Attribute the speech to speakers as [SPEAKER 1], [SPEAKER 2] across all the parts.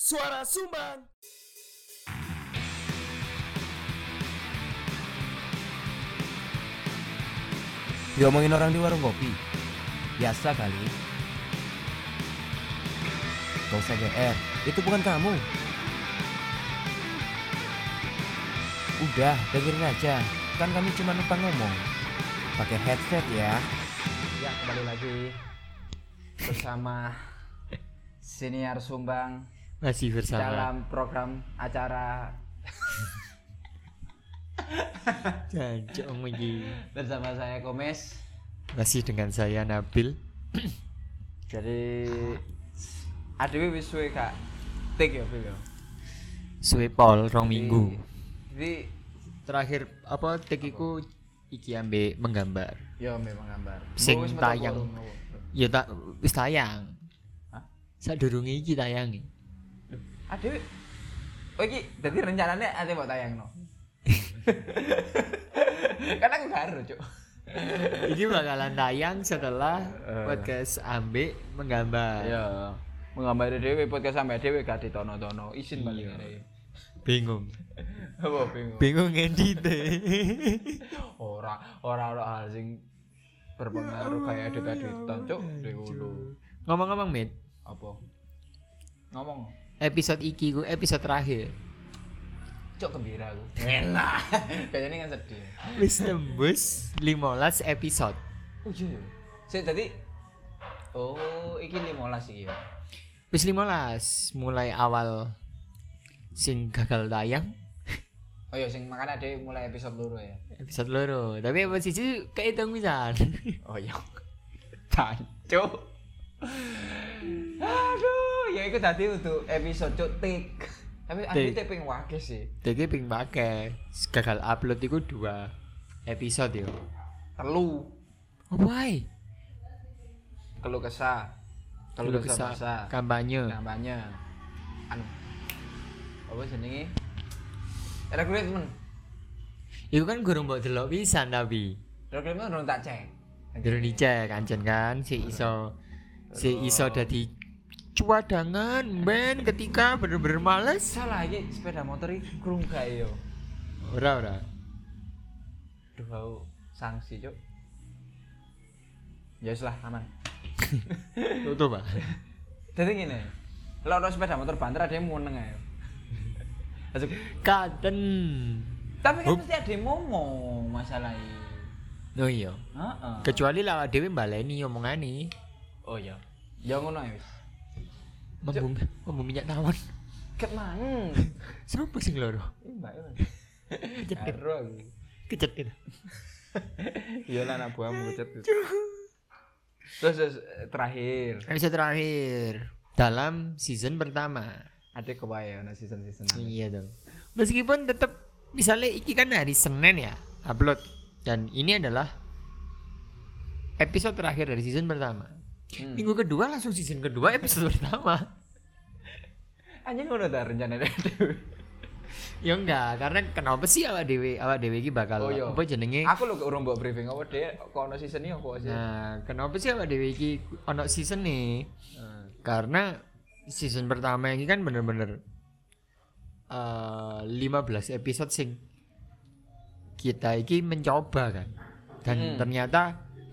[SPEAKER 1] Suara Sumbang.
[SPEAKER 2] Diomongin orang di warung kopi Biasa kali Gak usah GR Itu bukan kamu Udah, dengerin aja Kan kami cuma numpang ngomong Pakai headset ya
[SPEAKER 3] Ya kembali lagi bersama senior Sumbang
[SPEAKER 4] Masih bersama
[SPEAKER 3] dalam program acara
[SPEAKER 4] Jancok mengi.
[SPEAKER 3] bersama saya Komes.
[SPEAKER 4] Masih dengan saya Nabil
[SPEAKER 3] Jadi adewe wis suwe Kak. Tik ya Bil, ya.
[SPEAKER 4] Suepol rong
[SPEAKER 3] Jadi-
[SPEAKER 4] minggu
[SPEAKER 3] Jadi
[SPEAKER 4] Terakhir apa tekiku Iki ambe menggambar
[SPEAKER 3] ya memang gambar.
[SPEAKER 4] Sing
[SPEAKER 3] Mbok wis metu
[SPEAKER 4] tayang.
[SPEAKER 3] burung, mbok.
[SPEAKER 4] Ya tak wis tayang
[SPEAKER 3] Hah?
[SPEAKER 4] Saat durungi iki tayangi
[SPEAKER 3] Adewe Oh iki dadi rencanane ate mbok tayangno. Karena aku karo, Cuk.
[SPEAKER 4] Ini bakalan tayang setelah
[SPEAKER 3] Eh.
[SPEAKER 4] podcast ambe menggambar
[SPEAKER 3] Ya, mengambari dhewe podcast sampe dhewe gak ditono-tono. Isin balik ngene.
[SPEAKER 4] Bingung
[SPEAKER 3] Apa bingung?
[SPEAKER 4] Bingung edite
[SPEAKER 3] ora ora ora hal sing berpengaruh kayak ada tadi tancuk dulu
[SPEAKER 4] Ngomong-ngomong Mit
[SPEAKER 3] apa ngomong
[SPEAKER 4] Episode iki ku episode terakhir
[SPEAKER 3] cok gembira aku enak kayaknya kan sedih
[SPEAKER 4] Wis tembus 15 episode
[SPEAKER 3] oh iya ya sih tadi oh iki limolas iki ya
[SPEAKER 4] Wis 15 mulai awal sing gagal tayang
[SPEAKER 3] oh iya sing makanya ada mulai episode loro ya
[SPEAKER 4] episode loro tapi episode siji kehitung pisan
[SPEAKER 3] oh iya tancuk aduh ya itu tadi untuk episode cok tik tapi ada
[SPEAKER 4] Tik.
[SPEAKER 3] taping wakil sih
[SPEAKER 4] jadi ping pake gagal upload itu dua episode yo
[SPEAKER 3] telu
[SPEAKER 4] oh why
[SPEAKER 3] keluh kesah
[SPEAKER 4] kalau bisa
[SPEAKER 3] basah.
[SPEAKER 4] kampanye
[SPEAKER 3] namanya anu apa jenenge recruitment
[SPEAKER 4] itu kan gurung mbok delok pisan tapi
[SPEAKER 3] recruitment urung tak cek
[SPEAKER 4] durung dicek kancen kan si iso si iso dadi cuadangan ben ketika bener-bener males
[SPEAKER 3] salah iki sepeda motor iki kurung gawe yo
[SPEAKER 4] ora ora
[SPEAKER 3] duh aku sanksi cuk ya wis lah aman
[SPEAKER 4] tutup pak
[SPEAKER 3] dadi ngene lek ono sepeda motor banter ada yang meneng ae Masuk.
[SPEAKER 4] katen
[SPEAKER 3] tapi kan
[SPEAKER 4] Hup.
[SPEAKER 3] mesti ada yang ngomong masalah ini
[SPEAKER 4] oh iya
[SPEAKER 3] Heeh.
[SPEAKER 4] kecuali lawa dewi baleni omongane
[SPEAKER 3] oh iya ya ngono ae wis
[SPEAKER 4] membum membum minyak tawon
[SPEAKER 3] ket mangen
[SPEAKER 4] siapa sing loro
[SPEAKER 3] Ih, mbak ya. Karo aku.
[SPEAKER 4] kejet kita
[SPEAKER 3] Iya lah anak buahmu kecet. Terus, terus, eh, terakhir
[SPEAKER 4] episode terakhir dalam season pertama
[SPEAKER 3] ada kebaya ana season-season.
[SPEAKER 4] iya dong meskipun tetap misalnya iki kan hari senin ya upload dan ini adalah episode terakhir dari season pertama
[SPEAKER 3] Hmm.
[SPEAKER 4] minggu kedua langsung season kedua episode pertama
[SPEAKER 3] Anjing ngono ta rencana
[SPEAKER 4] ya enggak karena kenapa sih awak dewi awak dewi iki bakal
[SPEAKER 3] Oh, iya.
[SPEAKER 4] apa jenenge
[SPEAKER 3] Aku lho urung mbok briefing apa dhek kok ono season iki apa sih?
[SPEAKER 4] nah kenapa sih awak dewi iki ono season nih
[SPEAKER 3] Eh,
[SPEAKER 4] karena season pertama ini kan bener-bener eh 15 episode sing kita iki mencoba kan dan
[SPEAKER 3] Hmm.
[SPEAKER 4] ternyata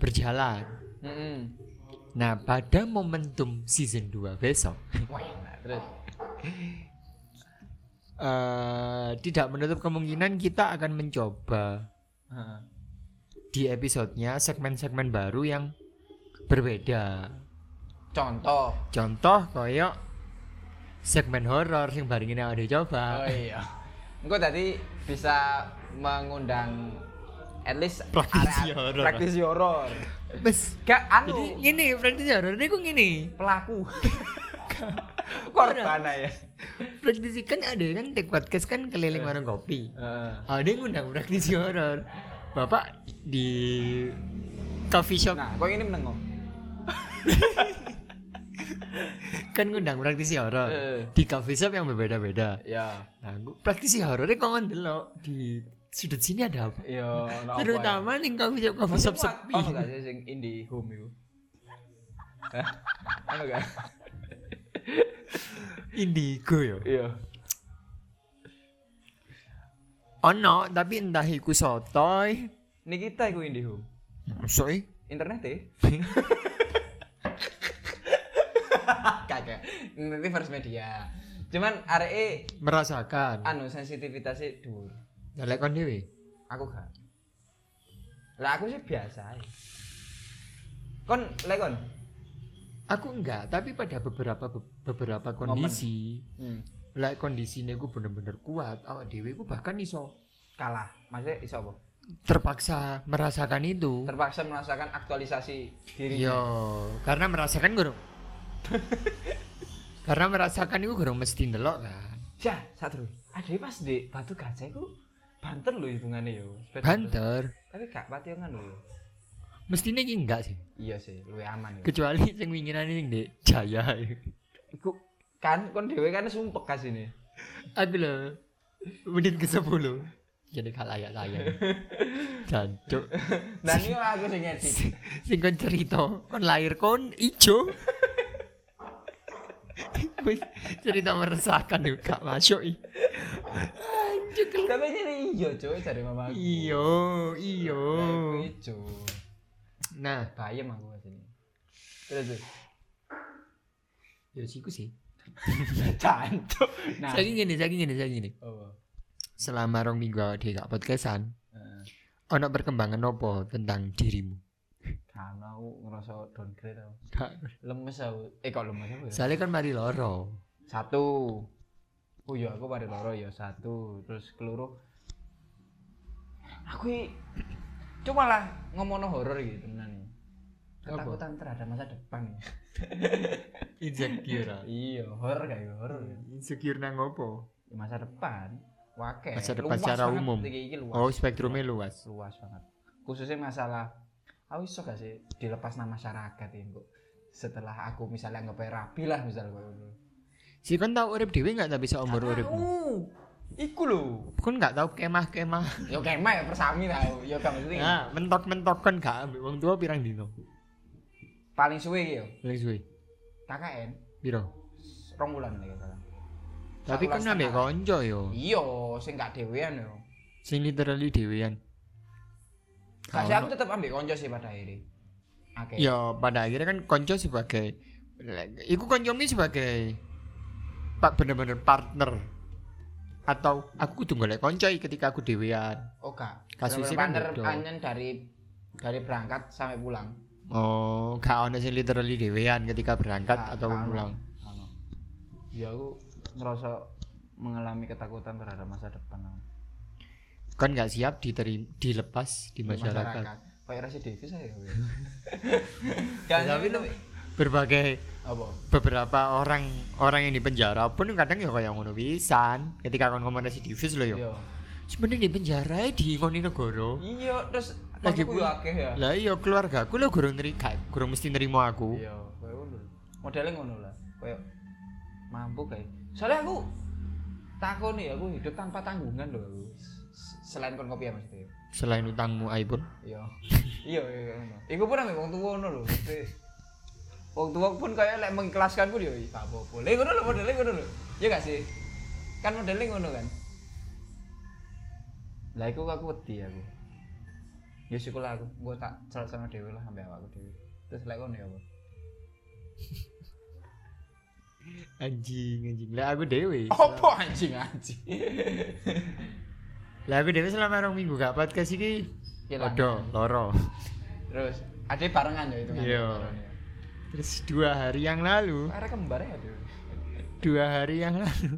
[SPEAKER 4] berjalan
[SPEAKER 3] Heeh.
[SPEAKER 4] nah pada momentum season 2 besok
[SPEAKER 3] Wah, enak. terus
[SPEAKER 4] eh tidak menutup kemungkinan kita akan mencoba
[SPEAKER 3] Heeh.
[SPEAKER 4] di episodenya segmen-segmen baru yang berbeda
[SPEAKER 3] contoh.
[SPEAKER 4] contoh koyok segmen horor yang baru ini ada
[SPEAKER 3] Oh
[SPEAKER 4] coba
[SPEAKER 3] iya. Engko tadi bisa mengundang at least area-
[SPEAKER 4] Praktisi horor.
[SPEAKER 3] Praktisi horor.
[SPEAKER 4] Bes.
[SPEAKER 3] Gak
[SPEAKER 4] Jadi
[SPEAKER 3] anu
[SPEAKER 4] gini, praktis horor ini kok gini.
[SPEAKER 3] pelaku. Korban ya.
[SPEAKER 4] Praktis kan ada kan take podcast kan
[SPEAKER 3] Iya.
[SPEAKER 4] keliling warung kopi.
[SPEAKER 3] Heeh.
[SPEAKER 4] Ada yang ngundang praktis horor. Bapak di coffee shop
[SPEAKER 3] Nah, kok ini menengok.
[SPEAKER 4] kan ngundang praktisi horor
[SPEAKER 3] Eh.
[SPEAKER 4] di coffee shop yang berbeda-beda.
[SPEAKER 3] Ya.
[SPEAKER 4] Nah, gua- praktisi horornya kok ndelok di sudut sini ada apa?
[SPEAKER 3] Iya, ono apa ya?
[SPEAKER 4] Terutama nih coffee shop coffee shop sepi.
[SPEAKER 3] Ono gak sih sing indie home iku? Hah? Ono gak?
[SPEAKER 4] Indigo ya. yo.
[SPEAKER 3] Iya.
[SPEAKER 4] Ono, tapi entah iku sotoy.
[SPEAKER 3] Nikita iku Indihome.
[SPEAKER 4] Soe.
[SPEAKER 3] Internet e. Kagak. Nanti first media. Cuman areke
[SPEAKER 4] Merasakan.
[SPEAKER 3] anu sensitivitasnya dhuwur.
[SPEAKER 4] Ya lek kon dhewe.
[SPEAKER 3] Aku gak. Lah aku sih biasa. ae. Kon lek kon.
[SPEAKER 4] Aku enggak, tapi pada beberapa beberapa kondisi,
[SPEAKER 3] Hmm.
[SPEAKER 4] lek kondisinya gue bener-bener kuat, awak dhewe gue bahkan iso
[SPEAKER 3] Kalah. Maksudnya iso apa?
[SPEAKER 4] terpaksa merasakan itu.
[SPEAKER 3] Terpaksa merasakan aktualisasi diri.
[SPEAKER 4] Yo, karena merasakan gurung. karena merasakan itu gurung mesti ndelok kan.
[SPEAKER 3] Ya, satu. Ada pas di Batu Gajah iku banter lho hitungannya yo.
[SPEAKER 4] Banter.
[SPEAKER 3] Tapi gak pati ngono lho.
[SPEAKER 4] Mestinya iki enggak sih.
[SPEAKER 3] Iya sih, luwih aman. yo.
[SPEAKER 4] Kecuali sing winginan sing di Jaya.
[SPEAKER 3] Iku kan kon dhewe kan sumpek kas ini.
[SPEAKER 4] Aku lho. Menit ke-10. Jadi gak layak-layak. Jancuk.
[SPEAKER 3] Dan ini aku sing ngedit.
[SPEAKER 4] sing kon cerita kon lahir kon ijo Wis, cerita meresahkan yuk gak masuk i anjir kel-
[SPEAKER 3] Tapi jadi iya cuy cari mama aku.
[SPEAKER 4] iyo iyo
[SPEAKER 3] Ijo.
[SPEAKER 4] nah
[SPEAKER 3] Bayem aku mas ini. Terus terus.
[SPEAKER 4] ya siku sih
[SPEAKER 3] Cantuk. Nah.
[SPEAKER 4] saya gini saya gini saya gini
[SPEAKER 3] Oh.
[SPEAKER 4] selama rong minggu awak dhewe gak podcastan
[SPEAKER 3] Eh,
[SPEAKER 4] ono perkembangan opo tentang dirimu
[SPEAKER 3] Karena aku ngerasa downgrade aku.
[SPEAKER 4] Gak-
[SPEAKER 3] Lemes aku. Eh kok lemes aku ya?
[SPEAKER 4] soalnya kan mari loro
[SPEAKER 3] Satu. Oh iya aku pada loro ya satu. Terus keluru. Aku i- cuma lah ngomong horor gitu tenan.
[SPEAKER 4] Apa?
[SPEAKER 3] Ketakutan terhadap masa depan.
[SPEAKER 4] insecure
[SPEAKER 3] iya, horor kayak horor. ya.
[SPEAKER 4] insecure nang opo
[SPEAKER 3] Ya, masa depan wakil
[SPEAKER 4] Masa depan secara umum.
[SPEAKER 3] luas.
[SPEAKER 4] oh spektrumnya luas
[SPEAKER 3] luas banget khususnya masalah aku iso gak sih dilepas nama masyarakat ini kok setelah aku misalnya nggak rapi lah misal kok ngono.
[SPEAKER 4] si kon tau urip dhewe gak tapi seumur uripmu
[SPEAKER 3] Tahu. iku lho
[SPEAKER 4] kon nggak tahu kemah-kemah
[SPEAKER 3] ya kemah ya persami tau ya gak maksudnya
[SPEAKER 4] ya mentok-mentok kan gak ambil wong tua pirang dino
[SPEAKER 3] paling suwe iki ya
[SPEAKER 4] paling suwe
[SPEAKER 3] KKN
[SPEAKER 4] piro
[SPEAKER 3] rong wulan nek salah
[SPEAKER 4] tapi kan ambil konco yo
[SPEAKER 3] iya sing gak dhewean ya
[SPEAKER 4] sing literally dhewean
[SPEAKER 3] kasih
[SPEAKER 4] Gak
[SPEAKER 3] aku tetep ambek kanca sih pada akhirnya oke
[SPEAKER 4] ya pada akhirnya kan konco sebagai iku koncomi sebagai pak bener-bener partner atau aku kudu golek konco iki ketika aku dhewean
[SPEAKER 3] oh gak
[SPEAKER 4] Kasusnya kan
[SPEAKER 3] bener
[SPEAKER 4] beda.
[SPEAKER 3] anyen dari dari berangkat sampai pulang
[SPEAKER 4] oh gak ono sing literally dhewean ketika berangkat
[SPEAKER 3] Gak-
[SPEAKER 4] atau
[SPEAKER 3] gak ono.
[SPEAKER 4] pulang
[SPEAKER 3] Gak ono. Ah, ya aku ngerasa mengalami ketakutan terhadap masa depan aku.
[SPEAKER 4] kan nggak siap diteri- dilepas di
[SPEAKER 3] Di
[SPEAKER 4] masyarakat
[SPEAKER 3] kayak Rasi Davis saya
[SPEAKER 4] Tapi lu- berbagai
[SPEAKER 3] apa
[SPEAKER 4] beberapa orang orang yang di penjara pun kadang ya kayak ngono pisan ketika kon ngomong residivis lho yo
[SPEAKER 3] iya
[SPEAKER 4] ya. sebenarnya di penjara ae di ngoni negara
[SPEAKER 3] iya terus
[SPEAKER 4] Lagi
[SPEAKER 3] aku ya akeh ya
[SPEAKER 4] lah iya keluarga aku lo gurung neri gak- gurung mesti nerimo aku
[SPEAKER 3] iya kayak ngono modelnya ngono lah kayak mampu kayak soalnya aku takon ya aku hidup tanpa tanggungan loh aku. S- selain kon kopi ya maksudnya
[SPEAKER 4] selain utangmu ae pun
[SPEAKER 3] iya iya iya ngono iku pun ambek wong tuwa ngono lho Mesti wong tuwa pun kaya lek mengikhlaskan ku yo gak apa-apa lek ngono lho modele ngono lho iya gak sih kan modele ngono kan lah iku aku wedi aku ya syukurlah aku gua tak celak-celak dhewe lah ambek awakku dhewe terus lek ngono ya apa
[SPEAKER 4] anjing anjing lah aku dewe
[SPEAKER 3] opo anjing anjing
[SPEAKER 4] lah aku dewe selama rong minggu gak podcast iki
[SPEAKER 3] Hilang.
[SPEAKER 4] Odo, loro
[SPEAKER 3] Iya terus ade barengan ya itu kan
[SPEAKER 4] Iya. terus dua hari yang lalu
[SPEAKER 3] arek kembar ya dhewe
[SPEAKER 4] dua hari yang lalu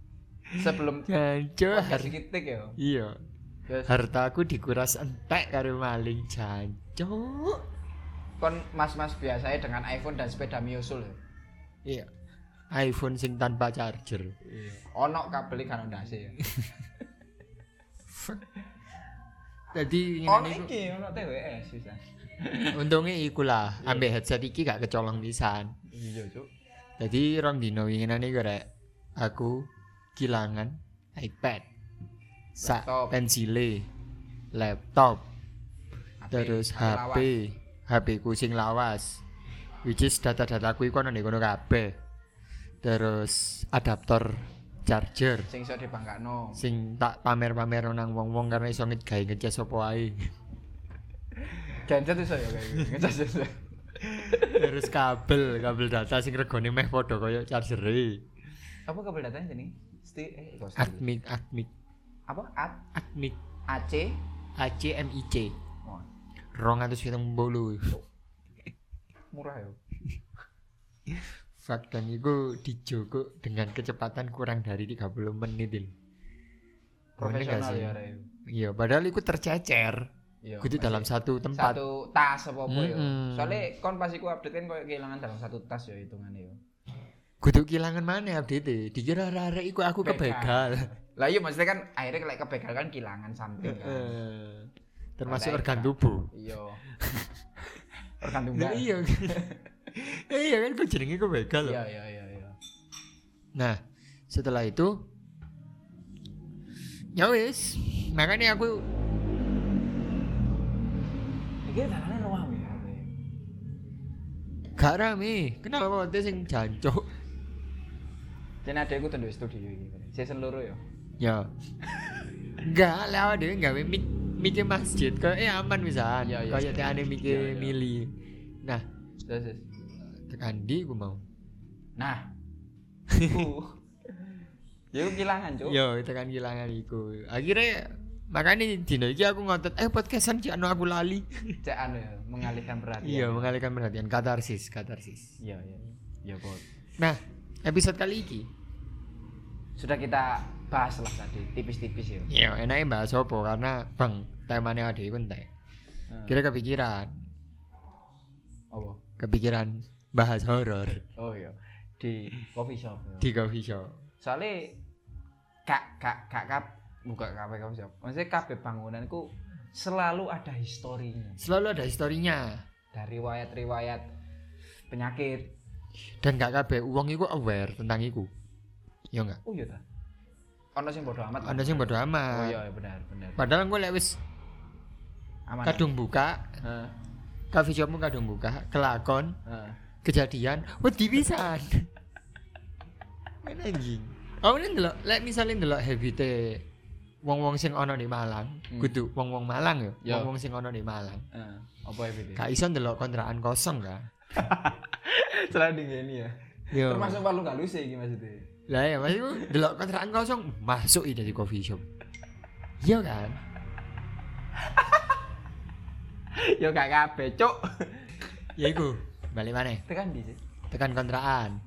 [SPEAKER 3] sebelum
[SPEAKER 4] dan dua
[SPEAKER 3] podcast
[SPEAKER 4] hari
[SPEAKER 3] kitik ya
[SPEAKER 4] iya
[SPEAKER 3] terus
[SPEAKER 4] hartaku dikuras entek karo maling jancuk
[SPEAKER 3] kon mas-mas biasanya dengan iPhone dan sepeda miusul ya.
[SPEAKER 4] Iya. iPhone sing tanpa charger.
[SPEAKER 3] Iya. Ono kabel kan ndase ya.
[SPEAKER 4] Jadi
[SPEAKER 3] Ono
[SPEAKER 4] ngene iku-
[SPEAKER 3] iki ono TWS bisa.
[SPEAKER 4] untungnya iku lah ambek headset iki gak kecolong pisan.
[SPEAKER 3] Iya, Cuk.
[SPEAKER 4] Jadi rong dino winginane iku rek aku kilangan iPad. Sak
[SPEAKER 3] Laptop.
[SPEAKER 4] pensile, laptop,
[SPEAKER 3] HP,
[SPEAKER 4] terus HP,
[SPEAKER 3] lawas.
[SPEAKER 4] HP ku sing lawas. Which is data-dataku iku ana ning kono kabeh. terus adaptor charger
[SPEAKER 3] sing iso dibangkakno.
[SPEAKER 4] sing tak pamer-pamer nang wong-wong karena iso ngegawe ngecas apa wae.
[SPEAKER 3] Gadget iso ya kayak gitu. Ngecas iso.
[SPEAKER 4] terus kabel, kabel data sing regane meh padha kaya charger
[SPEAKER 3] Apa kabel datanya jenenge? Sti eh kok sti-
[SPEAKER 4] Admic, admic,
[SPEAKER 3] apa? At
[SPEAKER 4] admic
[SPEAKER 3] AC.
[SPEAKER 4] ACMIC.
[SPEAKER 3] Oh,
[SPEAKER 4] 270.
[SPEAKER 3] murah ya.
[SPEAKER 4] Fuck dan itu dijogo dengan kecepatan kurang dari 30 menit ini. Boleh nggak
[SPEAKER 3] Profesional
[SPEAKER 4] sih?
[SPEAKER 3] ya arek itu.
[SPEAKER 4] Iya, padahal itu tercecer.
[SPEAKER 3] Iya.
[SPEAKER 4] Kudu
[SPEAKER 3] masih
[SPEAKER 4] dalam satu tempat.
[SPEAKER 3] satu tas apa apa ya.
[SPEAKER 4] Mm-mm.
[SPEAKER 3] Soalnya kon pas iku update kan koyo kehilangan dalam satu tas ya hitungannya ya.
[SPEAKER 4] Kudu kehilangan mana update e? Dikira arek-arek iku aku kebegal.
[SPEAKER 3] Lah iya maksudnya kan akhirnya kayak kebegal kan kehilangan something kan.
[SPEAKER 4] Eh, Termasuk
[SPEAKER 3] Arek
[SPEAKER 4] organ
[SPEAKER 3] kan.
[SPEAKER 4] tubuh.
[SPEAKER 3] Iya. Organ
[SPEAKER 4] Lah
[SPEAKER 3] tunggal.
[SPEAKER 4] iya. Eh, iya kan kok jenenge kebegal loh.
[SPEAKER 3] Iya iya iya iya.
[SPEAKER 4] Nah, setelah itu ya wis, makanya aku
[SPEAKER 3] Iki dalane luwih ya. arek.
[SPEAKER 4] gak rame. Kenapa waktu sing jancuk?
[SPEAKER 3] Jadi adekku tuh di studio iki. Season loro ya.
[SPEAKER 4] Ya. Enggak, lah dhewe gawe mik mikir masjid kok eh aman pisan.
[SPEAKER 3] Iya, iya,
[SPEAKER 4] Kaya
[SPEAKER 3] iya.
[SPEAKER 4] teane
[SPEAKER 3] Iya,
[SPEAKER 4] mikir
[SPEAKER 3] iya.
[SPEAKER 4] mili. Nah,
[SPEAKER 3] Terus terus.
[SPEAKER 4] tekan di ku mau.
[SPEAKER 3] Nah. Ku. Ya aku kehilangan, Cuk.
[SPEAKER 4] Yo, tekan kehilangan iku. Akhirnya makanya dino iki aku ngotot eh podcastan cek anu aku lali.
[SPEAKER 3] Cek anu ya, mengalihkan perhatian.
[SPEAKER 4] Iya, mengalihkan perhatian katarsis, katarsis.
[SPEAKER 3] Iya, iya. Ya, Bos.
[SPEAKER 4] Nah, episode kali ini
[SPEAKER 3] Sudah kita bahas lah tadi, tipis-tipis ya.
[SPEAKER 4] Iya, enaknya bahas apa karena bang temanya ada itu entek.
[SPEAKER 3] Hmm.
[SPEAKER 4] Kira kepikiran,
[SPEAKER 3] Nah, Apa?
[SPEAKER 4] kepikiran bahas horor
[SPEAKER 3] Oh iya. Di coffee shop. Ya.
[SPEAKER 4] di coffee shop.
[SPEAKER 3] Soalnya kak kak kak kak buka kafe coffee shop. Maksudnya kafe bangunanku selalu ada historinya
[SPEAKER 4] Selalu ada historinya
[SPEAKER 3] dari riwayat-riwayat penyakit.
[SPEAKER 4] dan gak kabeh uang iku aware tentang iku. Ya enggak?
[SPEAKER 3] Oh iya ta. Ono sing bodoh amat.
[SPEAKER 4] Ada sing bodo
[SPEAKER 3] Oh
[SPEAKER 4] amat.
[SPEAKER 3] iya iya, benar benar.
[SPEAKER 4] Padahal gue lek wis
[SPEAKER 3] Aman.
[SPEAKER 4] kadung buka,
[SPEAKER 3] Heeh.
[SPEAKER 4] coffee shopmu kadung buka, kelakon,
[SPEAKER 3] Heeh.
[SPEAKER 4] kejadian, wedi pisan. Kan anjing. Oh, ini ndelok, lek misale ndelok habite wong-wong sing ana di Malang,
[SPEAKER 3] Hmm.
[SPEAKER 4] kudu wong-wong Malang
[SPEAKER 3] Ya.
[SPEAKER 4] ya, wong-wong sing ana di Malang.
[SPEAKER 3] Heeh. Apa ya Bidi?
[SPEAKER 4] Gak iso ndelok kontrakan kosong kan.
[SPEAKER 3] Selalu ini ya.
[SPEAKER 4] Yo.
[SPEAKER 3] Termasuk palu galus ya iki maksudnya.
[SPEAKER 4] Lah ya maksudku ndelok kontrakan kosong masuk ide di coffee shop. Iya kan?
[SPEAKER 3] Yo gak kabeh, cuk.
[SPEAKER 4] Ya iku. Balik maneh
[SPEAKER 3] Tekan di sih.
[SPEAKER 4] tekan kontrakan.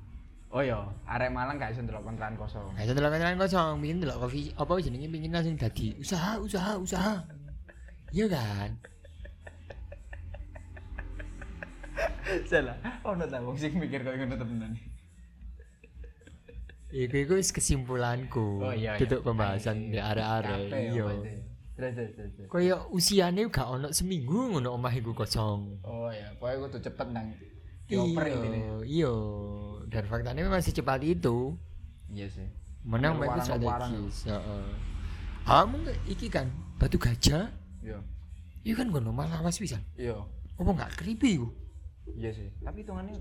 [SPEAKER 3] Oh iya, arek Malang gak iso ndelok kontrakan kosong.
[SPEAKER 4] Gak iso ndelok kontrakan kosong, pingin ndelok coffee apa jenenge pingin langsung dadi usaha, usaha, usaha. Iya kan?
[SPEAKER 3] Salah. Ono ta wong sing mikir koyo ngono temenan.
[SPEAKER 4] Iku iku wis kesimpulanku. Tutup Oh, pembahasan di arek-arek.
[SPEAKER 3] Capek ya,
[SPEAKER 4] Iya.
[SPEAKER 3] pasti. Terus terus terus, terus.
[SPEAKER 4] Kaya usiane gak ono seminggu ngono omah iku kosong.
[SPEAKER 3] Oh iya, pokoknya kudu cepet nang dioper intine.
[SPEAKER 4] Iya. Dan faktanya memang secepat itu.
[SPEAKER 3] Iya sih.
[SPEAKER 4] menang
[SPEAKER 3] Warang
[SPEAKER 4] mereka
[SPEAKER 3] warang.
[SPEAKER 4] strategis heeh kamu nggak iki kan batu gajah
[SPEAKER 3] Iya.
[SPEAKER 4] itu kan gue nomor lawas bisa
[SPEAKER 3] Iya.
[SPEAKER 4] apa nggak creepy ku
[SPEAKER 3] Iya sih. Tapi hitungannya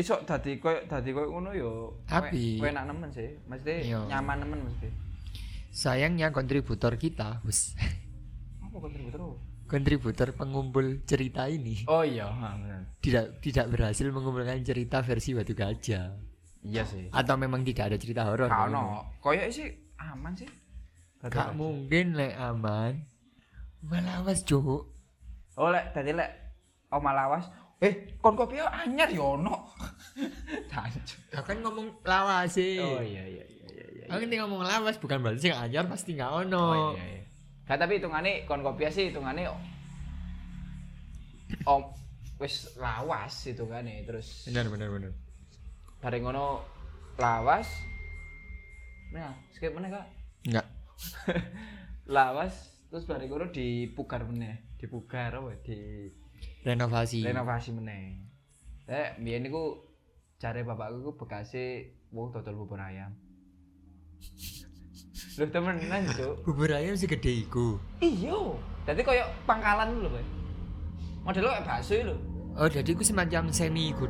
[SPEAKER 3] iso dadi koyo dadi koyo ngono yo.
[SPEAKER 4] Tapi-
[SPEAKER 3] kowe enak nemen sih. Mesti
[SPEAKER 4] Iya.
[SPEAKER 3] nyaman nemen mesti.
[SPEAKER 4] sayangnya kontributor kita wes
[SPEAKER 3] Apa kontributor? apa?
[SPEAKER 4] kontributor pengumpul cerita ini
[SPEAKER 3] Oh iya, ha bener.
[SPEAKER 4] tidak tidak berhasil mengumpulkan cerita versi batu gajah
[SPEAKER 3] Iya sih.
[SPEAKER 4] atau memang tidak ada cerita horor
[SPEAKER 3] Gak ono. Koyo sih aman sih.
[SPEAKER 4] gak mungkin lek aman malawas cowok
[SPEAKER 3] Oh lek dadi lek oma lawas. Eh, kon kopi yo anyar yo ono. Tancu.
[SPEAKER 4] Lah kan ngomong lawas sih
[SPEAKER 3] Oh iya iya iya iya. iya.
[SPEAKER 4] Aku ini ngomong lawas bukan berarti sing anyar pasti nggak ono.
[SPEAKER 3] Oh iya iya. Nah, tapi hitungane kon kopi sih hitungane om wis lawas hitungane terus
[SPEAKER 4] Benar benar benar.
[SPEAKER 3] bareng ngono lawas. Nah, skip meneh Kak.
[SPEAKER 4] Enggak.
[SPEAKER 3] lawas terus bareng ngono dipugar meneh. Dipugar apa ya? di
[SPEAKER 4] Renovasi.
[SPEAKER 3] renovasi meneh. Eh, biyen niku jare bapakku iku bekase wong dodol bubur ayam. Lho temenan, Cuk.
[SPEAKER 4] Bubur ayam segede iku.
[SPEAKER 3] Iyo. Dadi koyo pangkalan lho, Pak. Model koyo bakso iki lho.
[SPEAKER 4] Oh, jadi iku semacam semi iku.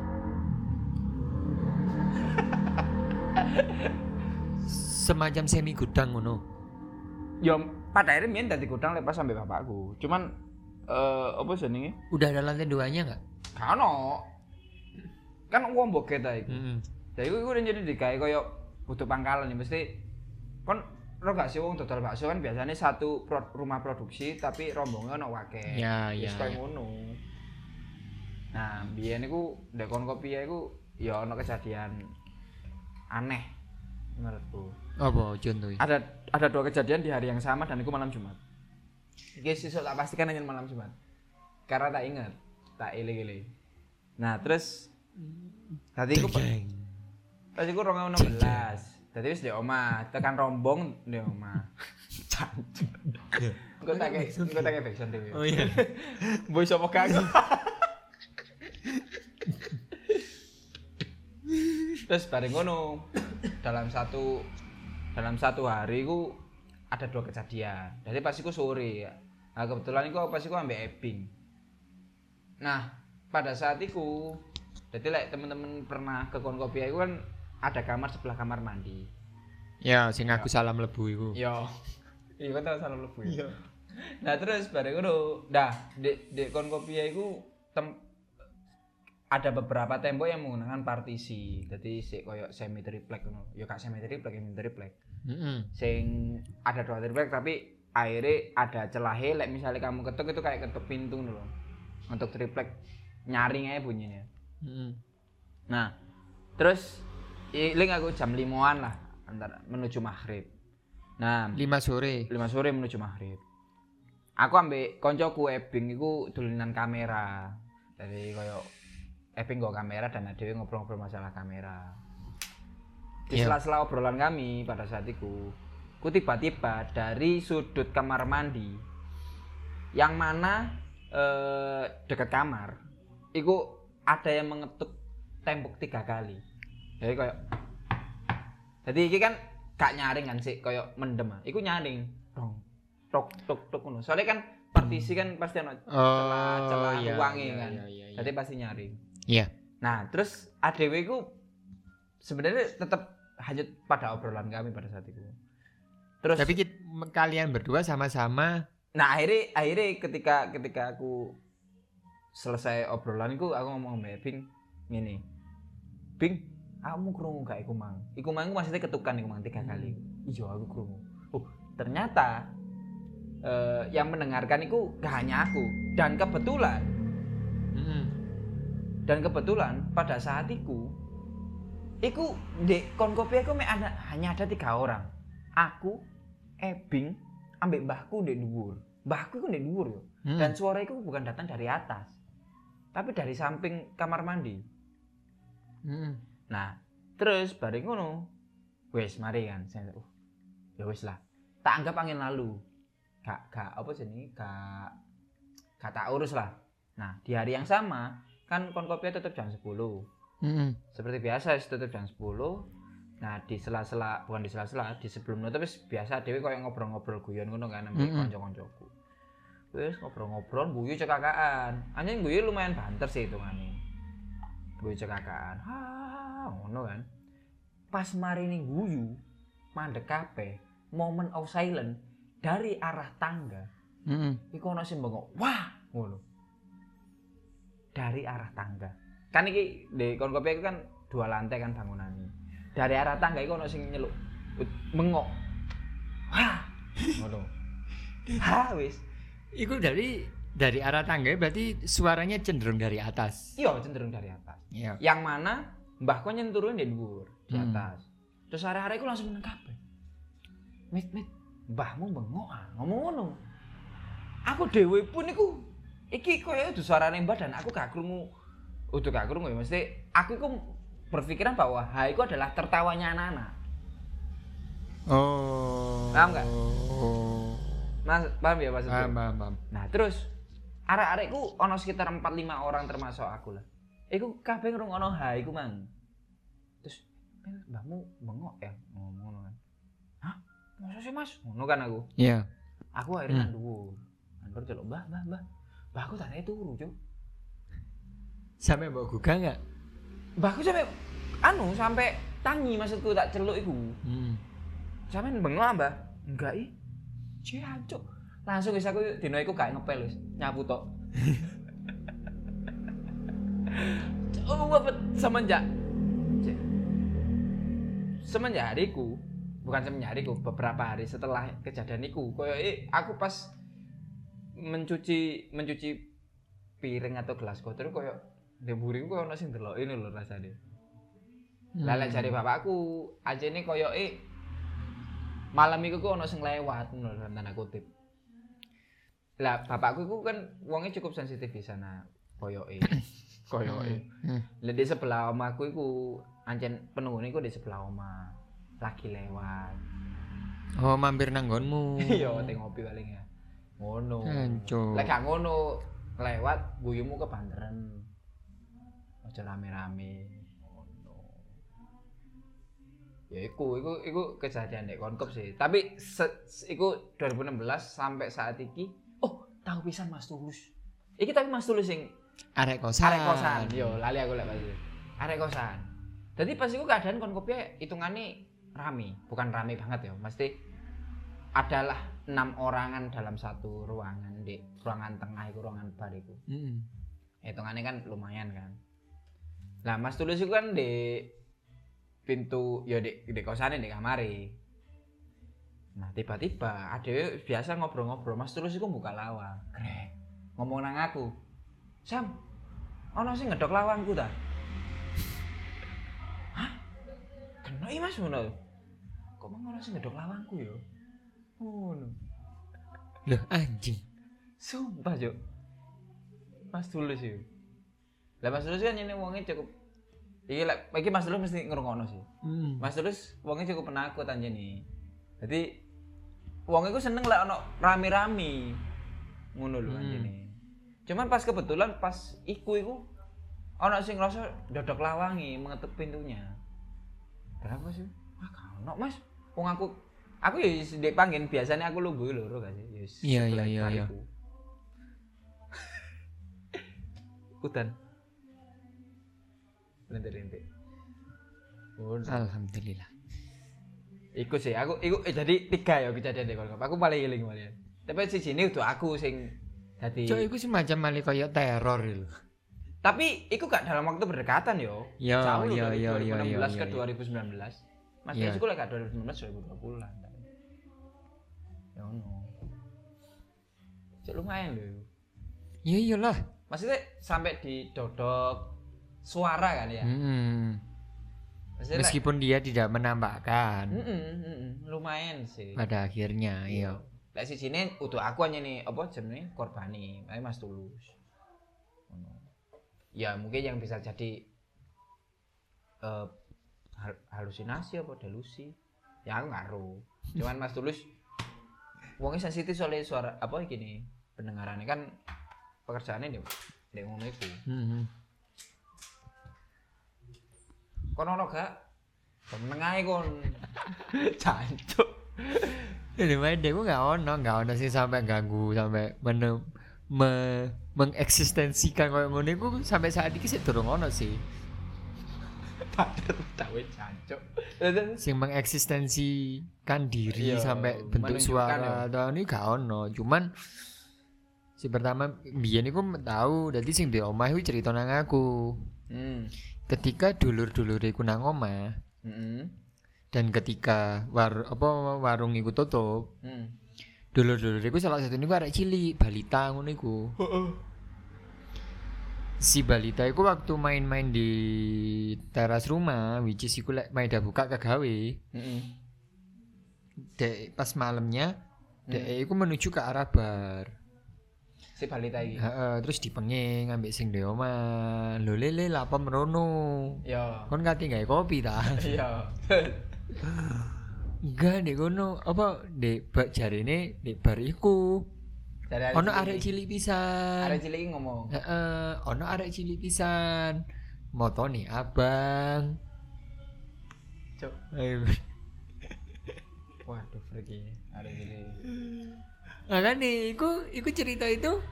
[SPEAKER 4] semacam semi gudang ngono.
[SPEAKER 3] Ya pada akhirnya mien dadi gudang lepas sampai bapakku. Cuman eh apa jenenge?
[SPEAKER 4] Udah ada lantai duanya nggak?
[SPEAKER 3] Gak ono. Kan uang boket ta iku.
[SPEAKER 4] Mm-mm.
[SPEAKER 3] Lah iku iku jadi digawe koyo butuh pangkalan ya mesti kon ro gak sih wong dodol bakso kan biasanya satu pro- rumah produksi tapi rombongnya ono wakil.
[SPEAKER 4] Ya, ya,
[SPEAKER 3] Wis koyo
[SPEAKER 4] ya.
[SPEAKER 3] ngono. Iya, Nah, biyen iku ndek kon kopi ya iku ya ono kejadian aneh menurutku.
[SPEAKER 4] Apa contohnya?
[SPEAKER 3] ada ada dua kejadian di hari yang sama dan itu malam Jumat. Oke, sesuk tak pastikan hanya malam Jumat. Karena tak ingat, tak ele-ele. Nah, terus tadi aku
[SPEAKER 4] Deng.
[SPEAKER 3] tadi aku 2016. Tadi wis di omah, tekan rombong di omah. Cancuk. Engko tak kayak engko tak kayak backsound dhewe.
[SPEAKER 4] Oh iya.
[SPEAKER 3] Boy sapa kagak? Terus bareng ngono dalam satu dalam satu hari ku ada dua kejadian. Jadi pas iku sore ya. Nah, kebetulan iku pas iku ambek Ebing. Nah, pada saat itu jadi like teman-teman pernah ke Konkopia itu kan ada kamar sebelah kamar mandi.
[SPEAKER 4] Ya, sing aku salam lebu iku.
[SPEAKER 3] Yo. Iya kan tahu salah lebu. Iya. Nah terus bareng itu, dah di di konkopia itu ya tem ada beberapa tembok yang menggunakan partisi. Jadi si koyo semi triplek ngono. Yo gak semi triplek, semi triplek.
[SPEAKER 4] Mm-mm.
[SPEAKER 3] Sing ada dua triplek tapi akhirnya ada celahnya like misalnya kamu ketuk itu kayak ketuk pintu dulu untuk triplek nyaring aja bunyinya
[SPEAKER 4] Mm-mm.
[SPEAKER 3] Nah, terus link aku jam limuan lah antara menuju maghrib. Nah,
[SPEAKER 4] Lima sore.
[SPEAKER 3] lima sore menuju maghrib. Aku ambek koncoku Ebing iku dolinan kamera. Jadi koyo Ebing nggo kamera dan adewe ngobrol-ngobrol masalah kamera. Di
[SPEAKER 4] Iya.
[SPEAKER 3] sela-sela obrolan kami pada saat itu, ku tiba-tiba dari sudut kamar mandi yang mana eh, dekat kamar, iku ada yang mengetuk tembok tiga kali. Jadi koyo jadi iki kan gak nyaring kan sih koyo mendem. ah. Iku nyaring. Dong. Tok tok tok ngono. Soalnya kan partisi kan pasti ono celah-celah
[SPEAKER 4] iya,
[SPEAKER 3] ruangnya
[SPEAKER 4] iya,
[SPEAKER 3] kan.
[SPEAKER 4] Iya, iya, iya.
[SPEAKER 3] Jadi pasti nyaring.
[SPEAKER 4] Iya.
[SPEAKER 3] Nah, terus ADW ku sebenarnya tetap hanyut pada obrolan kami pada saat itu. Terus
[SPEAKER 4] Tapi kit- m- kalian berdua sama-sama
[SPEAKER 3] nah akhirnya akhirnya ketika ketika aku selesai obrolanku aku ngomong sama Bing ngene. Bing, kamu krungu gak iku mang? Iku mang iku maksudnya ketukan iku mang tiga kali. Iya aku krungu. Oh, ternyata eh, yang mendengarkan itu gak hanya aku dan kebetulan
[SPEAKER 4] Mm-mm.
[SPEAKER 3] dan kebetulan pada saat itu iku di konkopi aku mek ada hanya ada tiga orang aku Ebing ambek mbahku di dhuwur mbahku ku di dhuwur yo
[SPEAKER 4] Mm.
[SPEAKER 3] dan suara itu bukan datang dari atas tapi dari samping kamar mandi
[SPEAKER 4] Mm-mm.
[SPEAKER 3] Nah, terus bareng ngono. Wes, mari kan. Saya, uh, ya wes lah. Tak anggap angin lalu. Gak gak apa sih ini? Gak gak tak urus lah. Nah, di hari yang sama kan konkopia tutup jam 10.
[SPEAKER 4] Mm-mm.
[SPEAKER 3] Seperti biasa wis tutup jam 10. Nah, di sela-sela, bukan di sela-sela, di sebelum nutup wis biasa Dewi koyo ngobrol-ngobrol guyon ngono kan ambek
[SPEAKER 4] Mm-mm.
[SPEAKER 3] kanca-kancaku. Wis ngobrol-ngobrol guyu cekakaan. Anjing guyu lumayan banter sih hitungane. Guyu cekakaan. Ha ngono kan. Pas mari ning guyu, mandek kabeh, moment of silence dari arah tangga
[SPEAKER 4] Mm-mm.
[SPEAKER 3] iku ono sing bengok wah ngono dari arah tangga kan iki di konkopi iku kan dua lantai kan bangunannya dari arah tangga iku ono sing nyeluk ut- bengok wah ngono ha wis
[SPEAKER 4] Iku dari dari arah tangga berarti suaranya cenderung dari atas.
[SPEAKER 3] iya cenderung dari atas
[SPEAKER 4] Iya.
[SPEAKER 3] yang mana mbahku nyenturin di dhuwur di
[SPEAKER 4] Hmm.
[SPEAKER 3] atas terus hari-hari aku langsung menang kabeh mit mit mbahmu bengok ah ngomong ngono aku dhewe pun iku iki koyo itu suarane mbah dan aku gak krungu udah gak krungu ya mesti aku iku berpikiran bahwa ha iku adalah tertawanya anak-anak
[SPEAKER 4] Oh.
[SPEAKER 3] Paham nggak?
[SPEAKER 4] Oh.
[SPEAKER 3] Mas, paham ya maksudku?
[SPEAKER 4] Paham, paham, paham.
[SPEAKER 3] Nah, terus arek-arek ku ono sekitar 4 5 orang termasuk aku lah. Iku kabeh ngrungono ha iku mang. Terus "Men, mbahmu bengok ya ngomong ngono kan. Hah? Masa sih Mas? Ngono kan aku.
[SPEAKER 4] Iya.
[SPEAKER 3] Aku akhirnya hmm. nduwur. Ndur celuk mbah, mbah, mbah. Mbah aku tanya turu, Cuk.
[SPEAKER 4] Sampai bawa gugah nggak?
[SPEAKER 3] Mbahku sampai anu sampai tangi maksudku tak celuk iku
[SPEAKER 4] Hmm.
[SPEAKER 3] sampean bengok mbah enggak i Cie, ancuk langsung wis aku dino iku gak ngepel wis nyapu tok oh apa semenjak Cek. semenjak hariku bukan semenjak hariku beberapa hari setelah kejadian iku koyo aku pas mencuci mencuci piring atau gelas kotor koyo ndemburi koyo ono sing ndeloki lho rasane
[SPEAKER 4] Hmm.
[SPEAKER 3] lah lek jare bapakku, ajene koyoke malam iku ku ono sing lewat ngono dalam tanda kutip. Lah bapakku iku kan wonge cukup sensitif di sana koyoke. koyoke.
[SPEAKER 4] Hmm.
[SPEAKER 3] Lah di sebelah omahku iku ancen penunggune iku di sebelah omah. Lagi lewat.
[SPEAKER 4] Oh, mampir nang nggonmu.
[SPEAKER 3] Iya, teh ngopi paling ya. Ngono.
[SPEAKER 4] Hancur.
[SPEAKER 3] Lek gak ngono lewat guyumu kebanderen. Aja rame-rame. Ngono. Ya iku, iku iku kejadian nek konkop sih. Tapi se, se- iku 2016 sampai saat iki. Oh, tahu pisan Mas Tulus. Iki tapi Mas Tulus sing
[SPEAKER 4] Arek kosan. iya.
[SPEAKER 3] arek kosan. Yo, Ah, lali aku lek pasti. Arek kosan. Jadi pas iku keadaan konkopnya hitungannya rame, bukan rame banget ya, mesti adalah enam orangan dalam satu ruangan di ruangan tengah itu ruangan bar itu
[SPEAKER 4] Mm-mm.
[SPEAKER 3] hitungannya kan lumayan kan nah mas tulus itu kan di pintu ya di, di kosannya di kamari nah tiba-tiba ada yang biasa ngobrol-ngobrol mas tulus itu buka lawang Krek. ngomong nang aku sam ono sing ngedok lawangku ta hah kena iya mas ngono kok mau ono sing ngedok lawangku ya ngono
[SPEAKER 4] Loh, anjing.
[SPEAKER 3] Sumpah, Cuk. Mas Tulus yo. Lah Mas Tulus kan nyene wonge cukup Iki lek iki Mas Tulus mesti ngrungokno sih.
[SPEAKER 4] Hmm.
[SPEAKER 3] Mas Tulus wonge cukup penakut anjene. Dadi wong iku seneng lek ono rame-rame. Ngono lho
[SPEAKER 4] Hmm.
[SPEAKER 3] anjene. Cuman pas kebetulan pas iku iku ono sing ngerasa dodok lawangi mengetuk pintunya. Kenapa sih? Ah, gak ono, Mas. Wong aku aku ya wis ndek panggen biasanya aku lungguh loro gak sih? Ya wis
[SPEAKER 4] Iya, iya,
[SPEAKER 3] sebelah
[SPEAKER 4] iya, iya.
[SPEAKER 3] bariku. Udan. Lentik-lentik. Ngono.
[SPEAKER 4] Ah, Alhamdulillah.
[SPEAKER 3] Iku sih, aku iku eh, jadi tiga ya kejadian deh kalau aku paling iling kemarin. Tapi si sini udah aku sing jadi.
[SPEAKER 4] Cok, iku semacam mali koyo teror lho.
[SPEAKER 3] Tapi iku gak dalam waktu berdekatan yo.
[SPEAKER 4] Yo,
[SPEAKER 3] Jauh loh
[SPEAKER 4] yo,
[SPEAKER 3] dari
[SPEAKER 4] yo, yo,
[SPEAKER 3] 2016
[SPEAKER 4] yo,
[SPEAKER 3] ke
[SPEAKER 4] yo.
[SPEAKER 3] 2019. Mas
[SPEAKER 4] Iya.
[SPEAKER 3] yeah. sekolah gak 2019 2020 lah. entar. Ya ono. Cek lumayan loh.
[SPEAKER 4] Iya iyalah.
[SPEAKER 3] Maksudnya sampai di dodok suara kan ya.
[SPEAKER 4] Hmm. Iya,
[SPEAKER 3] Maksudnya like,
[SPEAKER 4] Meskipun dia tidak menampakkan
[SPEAKER 3] mm-mm, mm-mm, lumayan sih.
[SPEAKER 4] pada akhirnya, iya.
[SPEAKER 3] Lek si sini udah aku aja nih apa jenenge korbani, ae Mas Tulus. Ngono. Ya mungkin yang bisa jadi eh hal- halusinasi apa delusi. Ya aku ngaruh. Cuman Mas Tulus wongnya sensitif soalnya suara apa gini pendengarannya kan pekerjaannya dia dia ngono iku.
[SPEAKER 4] Hmm.
[SPEAKER 3] Kono ono gak? Temen ae kon. Jancuk.
[SPEAKER 4] Ini mah dia gue nggak ono, nggak ono sih sampai ganggu sampai mene, me, mengeksistensikan kayak ngono iku sampai saat ini sih durung ono sih.
[SPEAKER 3] Padahal tawe jancuk. Terus
[SPEAKER 4] Sing mengeksistensikan diri
[SPEAKER 3] Iya,
[SPEAKER 4] sampai
[SPEAKER 3] menunjukkan
[SPEAKER 4] bentuk suara tahun ini gak ono, cuman si pertama biyen iku tahu dadi sing di omah iku cerita nang aku.
[SPEAKER 3] Hmm.
[SPEAKER 4] Ketika dulur-dulur iku nang omah
[SPEAKER 3] Heeh.
[SPEAKER 4] dan ketika war apa warung iku tutup,
[SPEAKER 3] Heeh.
[SPEAKER 4] dulur-dulur iku salah satu niku arek cilik, balita ngono iku. si balita iku waktu main-main di teras rumah which is iku lek maida buka ke gawe
[SPEAKER 3] Heeh.
[SPEAKER 4] dek pas malamnya dek iku menuju ke arah bar
[SPEAKER 3] si balita iki.
[SPEAKER 4] Heeh, terus dipenging ambek sing di omah lho lele lapa merono
[SPEAKER 3] Ya.
[SPEAKER 4] kon kate gawe kopi ta
[SPEAKER 3] Iya.
[SPEAKER 4] enggak dek kono apa dek bak jarene dek bar iku
[SPEAKER 3] Dari arek
[SPEAKER 4] ono
[SPEAKER 3] cilik
[SPEAKER 4] arek
[SPEAKER 3] iki.
[SPEAKER 4] cilik pisan
[SPEAKER 3] Arek cilik iki ngomong.
[SPEAKER 4] Heeh, ono arek cilik pisan motone abang
[SPEAKER 3] Cuk.
[SPEAKER 4] Ayo.
[SPEAKER 3] Waduh freaky. Arek cilik.
[SPEAKER 4] Nah kan nih, iku, iku cerita itu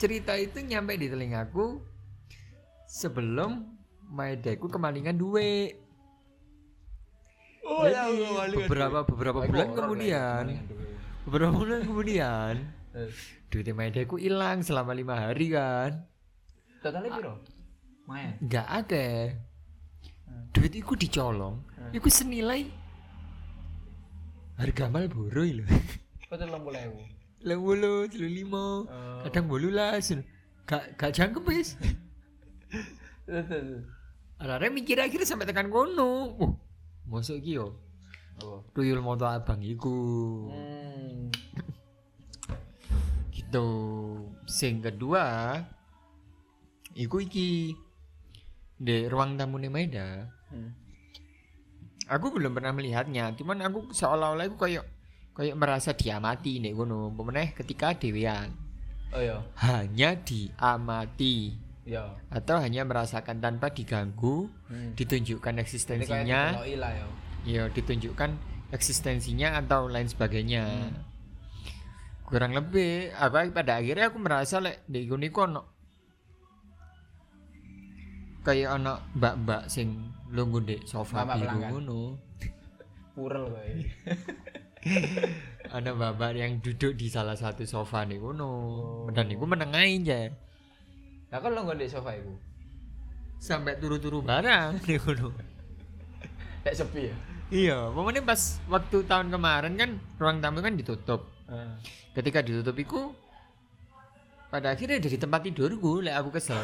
[SPEAKER 4] cerita itu nyampe di telingaku sebelum Maedaku kemalingan duit.
[SPEAKER 3] Oh, ya
[SPEAKER 4] Jadi, beberapa beberapa bulan kemudian, beberapa bulan kemudian, duit Maeda ku hilang selama lima hari kan.
[SPEAKER 3] Totalnya piro? Main.
[SPEAKER 4] Nggak ada. Duit iku dicolong. Iku senilai harga Malboro lho.
[SPEAKER 3] Kau tuh lembu lewu.
[SPEAKER 4] Lah bolu, telu limo,
[SPEAKER 3] Oh. Eh,
[SPEAKER 4] kadang bolu las. Gak gak jangkep wis.
[SPEAKER 3] Terus, terus, terus.
[SPEAKER 4] Arare mikir akhirnya sampai tekan kono. Uh, mosok iki yo.
[SPEAKER 3] Apa?
[SPEAKER 4] Tuyul moto abang iku.
[SPEAKER 3] Hmm.
[SPEAKER 4] gitu sing kedua iku iki di ruang tamu Maeda
[SPEAKER 3] Hmm.
[SPEAKER 4] aku belum pernah melihatnya cuman aku seolah-olah aku kayak kayak merasa diamati nih kono pemeneh ketika dewean
[SPEAKER 3] Oh iya,
[SPEAKER 4] hanya diamati
[SPEAKER 3] iya.
[SPEAKER 4] atau hanya merasakan tanpa diganggu
[SPEAKER 3] Hmm.
[SPEAKER 4] ditunjukkan
[SPEAKER 3] Ini kayak
[SPEAKER 4] eksistensinya
[SPEAKER 3] dikeloki lah ya.
[SPEAKER 4] ya ditunjukkan eksistensinya atau lain sebagainya kurang lebih apa pada akhirnya aku merasa lek di guni kono kayak ono mbak mbak sing lungguh di sofa
[SPEAKER 3] Mbak-mbak
[SPEAKER 4] biru
[SPEAKER 3] pelanggan.
[SPEAKER 4] ngono
[SPEAKER 3] Purel kayak.
[SPEAKER 4] ada mbak mbak yang duduk di salah satu sofa nih kono dan aku menengahin ya
[SPEAKER 3] Lah kan lo nggak di sofa iku.
[SPEAKER 4] sampai turu-turu barang nih kono
[SPEAKER 3] Lek sepi ya.
[SPEAKER 4] iya pokoknya pas waktu tahun kemarin kan ruang tamu kan ditutup ketika ditutup iku pada akhirnya dari tempat tidurku lek aku kesel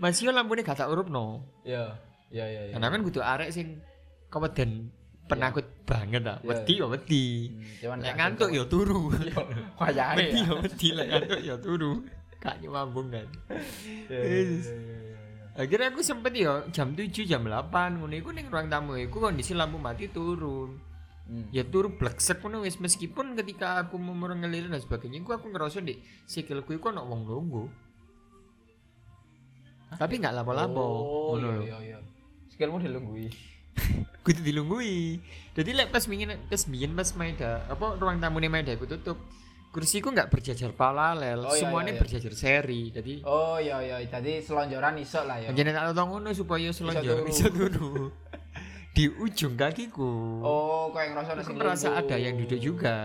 [SPEAKER 4] masih lampunya gak tak urup no
[SPEAKER 3] Iya, iya, iya. iya.
[SPEAKER 4] karena kan kudu arek sing keweden penakut banget tak
[SPEAKER 3] Iya,
[SPEAKER 4] wedi ya wedi
[SPEAKER 3] Hmm, Cuman
[SPEAKER 4] lek ngantuk ya turu
[SPEAKER 3] Kayak
[SPEAKER 4] wedi ya wedi lek ngantuk ya turu gak nyambung kan akhirnya aku sempet ya jam 7 jam 8 ngono iku ning ruang tamu iku kondisi lampu mati turun ya turu bleksek ngono wis meskipun ketika aku memur ngelilir dan sebagainya gua aku ngerasa di sikilku iku ana wong lungguh tapi nggak lapo-lapo
[SPEAKER 3] Oh,
[SPEAKER 4] ngono
[SPEAKER 3] iya,
[SPEAKER 4] lho.
[SPEAKER 3] iya, iya. Skillmu dilunggui.
[SPEAKER 4] kudu dilunggui jadi lek pas mingin pas mingin pas Maeda apa ruang tamu nih Maeda aku tutup kursiku nggak berjajar paralel
[SPEAKER 3] Oh, iya,
[SPEAKER 4] semuanya
[SPEAKER 3] iya, iya.
[SPEAKER 4] berjajar seri jadi
[SPEAKER 3] Oh, iya, iya. Tadi selonjoran iso lah ya.
[SPEAKER 4] Anjane tak tau ngono supaya selonjor
[SPEAKER 3] turu.
[SPEAKER 4] bisa turu di ujung kakiku
[SPEAKER 3] Oh, kau yang ngerasa gitu.
[SPEAKER 4] aku
[SPEAKER 3] nasi
[SPEAKER 4] merasa
[SPEAKER 3] lungguh.
[SPEAKER 4] ada yang duduk juga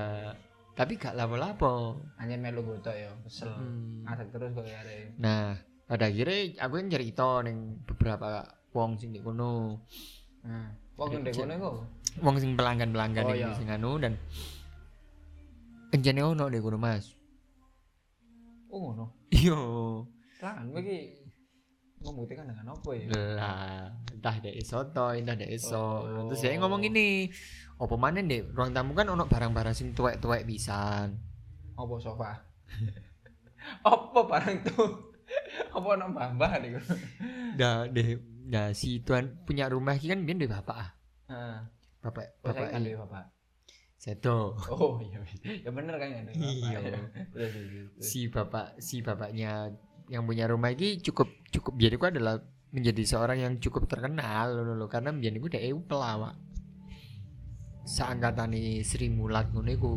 [SPEAKER 4] tapi gak lapo-lapo
[SPEAKER 3] Anjir melu gotok ya, kesel.
[SPEAKER 4] Hmm.
[SPEAKER 3] Ngadeg terus kok ya. Rey.
[SPEAKER 4] Nah, pada akhirnya aku yang cerita neng beberapa wong sing di kono,
[SPEAKER 3] Nah,
[SPEAKER 4] Hmm.
[SPEAKER 3] wong ndek kono iku.
[SPEAKER 4] wong sing pelanggan-pelanggan
[SPEAKER 3] Oh,
[SPEAKER 4] ning
[SPEAKER 3] iya.
[SPEAKER 4] sing anu dan enjane ono di kono, Mas.
[SPEAKER 3] Oh, ngono.
[SPEAKER 4] Iya.
[SPEAKER 3] Lah, kowe iki membuktikan dengan apa ya?
[SPEAKER 4] Lah, entah dek soto, entah dek iso.
[SPEAKER 3] Oh.
[SPEAKER 4] Terus dia ngomong ini, opo mana dek ruang tamu kan ono barang-barang sing tuwek-tuwek pisan.
[SPEAKER 3] Apa sofa? apa barang tuh? apa ono mbah-mbah niku?
[SPEAKER 4] Nah, deh, nah si tuan punya rumah iki kan biyen duwe bapak. ah.
[SPEAKER 3] Heeh.
[SPEAKER 4] Bapak,
[SPEAKER 3] Oh, saya kan
[SPEAKER 4] bapak
[SPEAKER 3] duwe bapak.
[SPEAKER 4] seto.
[SPEAKER 3] Oh, iya. Ya bener kan ya. duwe bapak,
[SPEAKER 4] Iya.
[SPEAKER 3] ya. Terus, terus, terus.
[SPEAKER 4] si bapak si bapaknya yang punya rumah ini cukup cukup biar aku adalah menjadi seorang yang cukup terkenal loh, loh. karena biar aku dhewe pelawak seangkatan ini Sri Mulat ngono iku.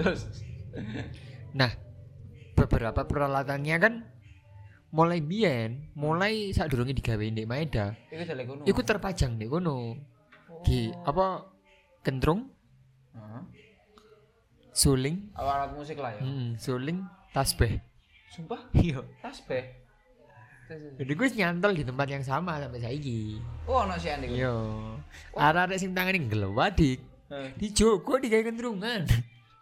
[SPEAKER 3] Terus.
[SPEAKER 4] nah beberapa peralatannya kan mulai biyen mulai saat durungnya digawe di Maeda
[SPEAKER 3] Iku jelek kono.
[SPEAKER 4] itu terpajang di kono
[SPEAKER 3] Oh.
[SPEAKER 4] di apa kentrung
[SPEAKER 3] Heeh.
[SPEAKER 4] suling
[SPEAKER 3] Alat musik lah ya.
[SPEAKER 4] mm, suling tasbih
[SPEAKER 3] Sumpah,
[SPEAKER 4] iya
[SPEAKER 3] tasbih. Terus, terus.
[SPEAKER 4] jadi gue nyantol di tempat yang sama sampai saiki
[SPEAKER 3] Oh, ono sih niku.
[SPEAKER 4] Yo. Arek-arek sing tangane ngelewadik.
[SPEAKER 3] Heeh.
[SPEAKER 4] Dijogo digawe kentrungan.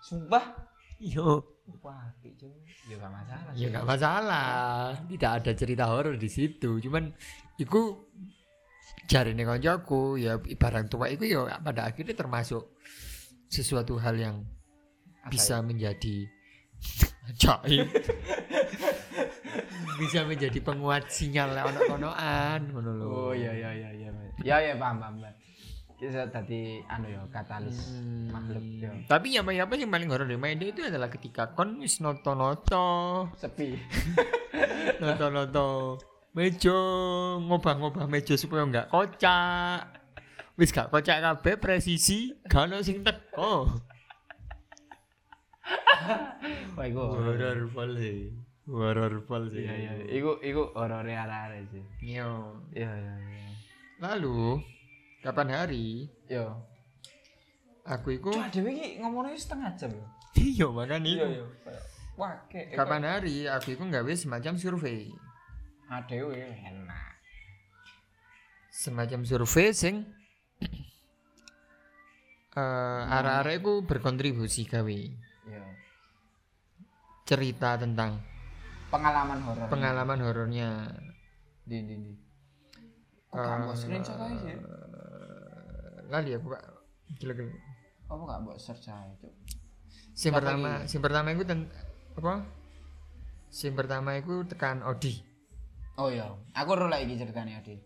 [SPEAKER 3] Sumpah.
[SPEAKER 4] Yo,
[SPEAKER 3] Wah, cuy. Ya gak masalah.
[SPEAKER 4] ya nggak masalah. Tidak ada cerita horor di situ. Cuman iku jarine koncoku ya barang tua iku ya pada akhirnya termasuk sesuatu hal yang
[SPEAKER 3] ya?
[SPEAKER 4] bisa menjadi ajaib bisa menjadi penguat sinyal lek ono-onoan ngono lho.
[SPEAKER 3] Oh iya iya iya iya. Ya ya paham paham. paham. Kita tadi anu ya katalis makhluk ya.
[SPEAKER 4] Tapi yang apa yang paling horor di Maeda itu adalah ketika kon wis noto-noto,
[SPEAKER 3] Sepi.
[SPEAKER 4] noto-noto meja, ngobah-ngobah meja supaya nggak kocak. Wis gak kocak kabeh presisi, gak ono sing teko.
[SPEAKER 3] Wah iku. horor.
[SPEAKER 4] Horor pole. Horor pole. iya.
[SPEAKER 3] Iya iya. Iku iku horore arek-arek sih.
[SPEAKER 4] Yo.
[SPEAKER 3] Iya iya iya.
[SPEAKER 4] Lalu kapan hari
[SPEAKER 3] Yo.
[SPEAKER 4] aku iku
[SPEAKER 3] Cuma dewe iki ngomongnya setengah jam ya.
[SPEAKER 4] iya makane
[SPEAKER 3] Iya
[SPEAKER 4] iku.
[SPEAKER 3] iya. Wah, kek.
[SPEAKER 4] Kapan hari aku iku nggawe semacam survei.
[SPEAKER 3] Ah dewe enak.
[SPEAKER 4] Semacam survei sing eh arah-arah iku berkontribusi gawe
[SPEAKER 3] Yo.
[SPEAKER 4] cerita tentang
[SPEAKER 3] Pengalaman horor.
[SPEAKER 4] pengalaman horornya.
[SPEAKER 3] Di di di. Kok
[SPEAKER 4] Eh,
[SPEAKER 3] gak mau screenshot aja sih?
[SPEAKER 4] Lali aku Pak. Gila-gila.
[SPEAKER 3] Apa gak mau search aja, Cuk?
[SPEAKER 4] Sing
[SPEAKER 3] Apa
[SPEAKER 4] pertama, sing pertama iku ten, apa? Sing pertama iku tekan Odi.
[SPEAKER 3] Oh iya, aku ora lagi ceritane Adi.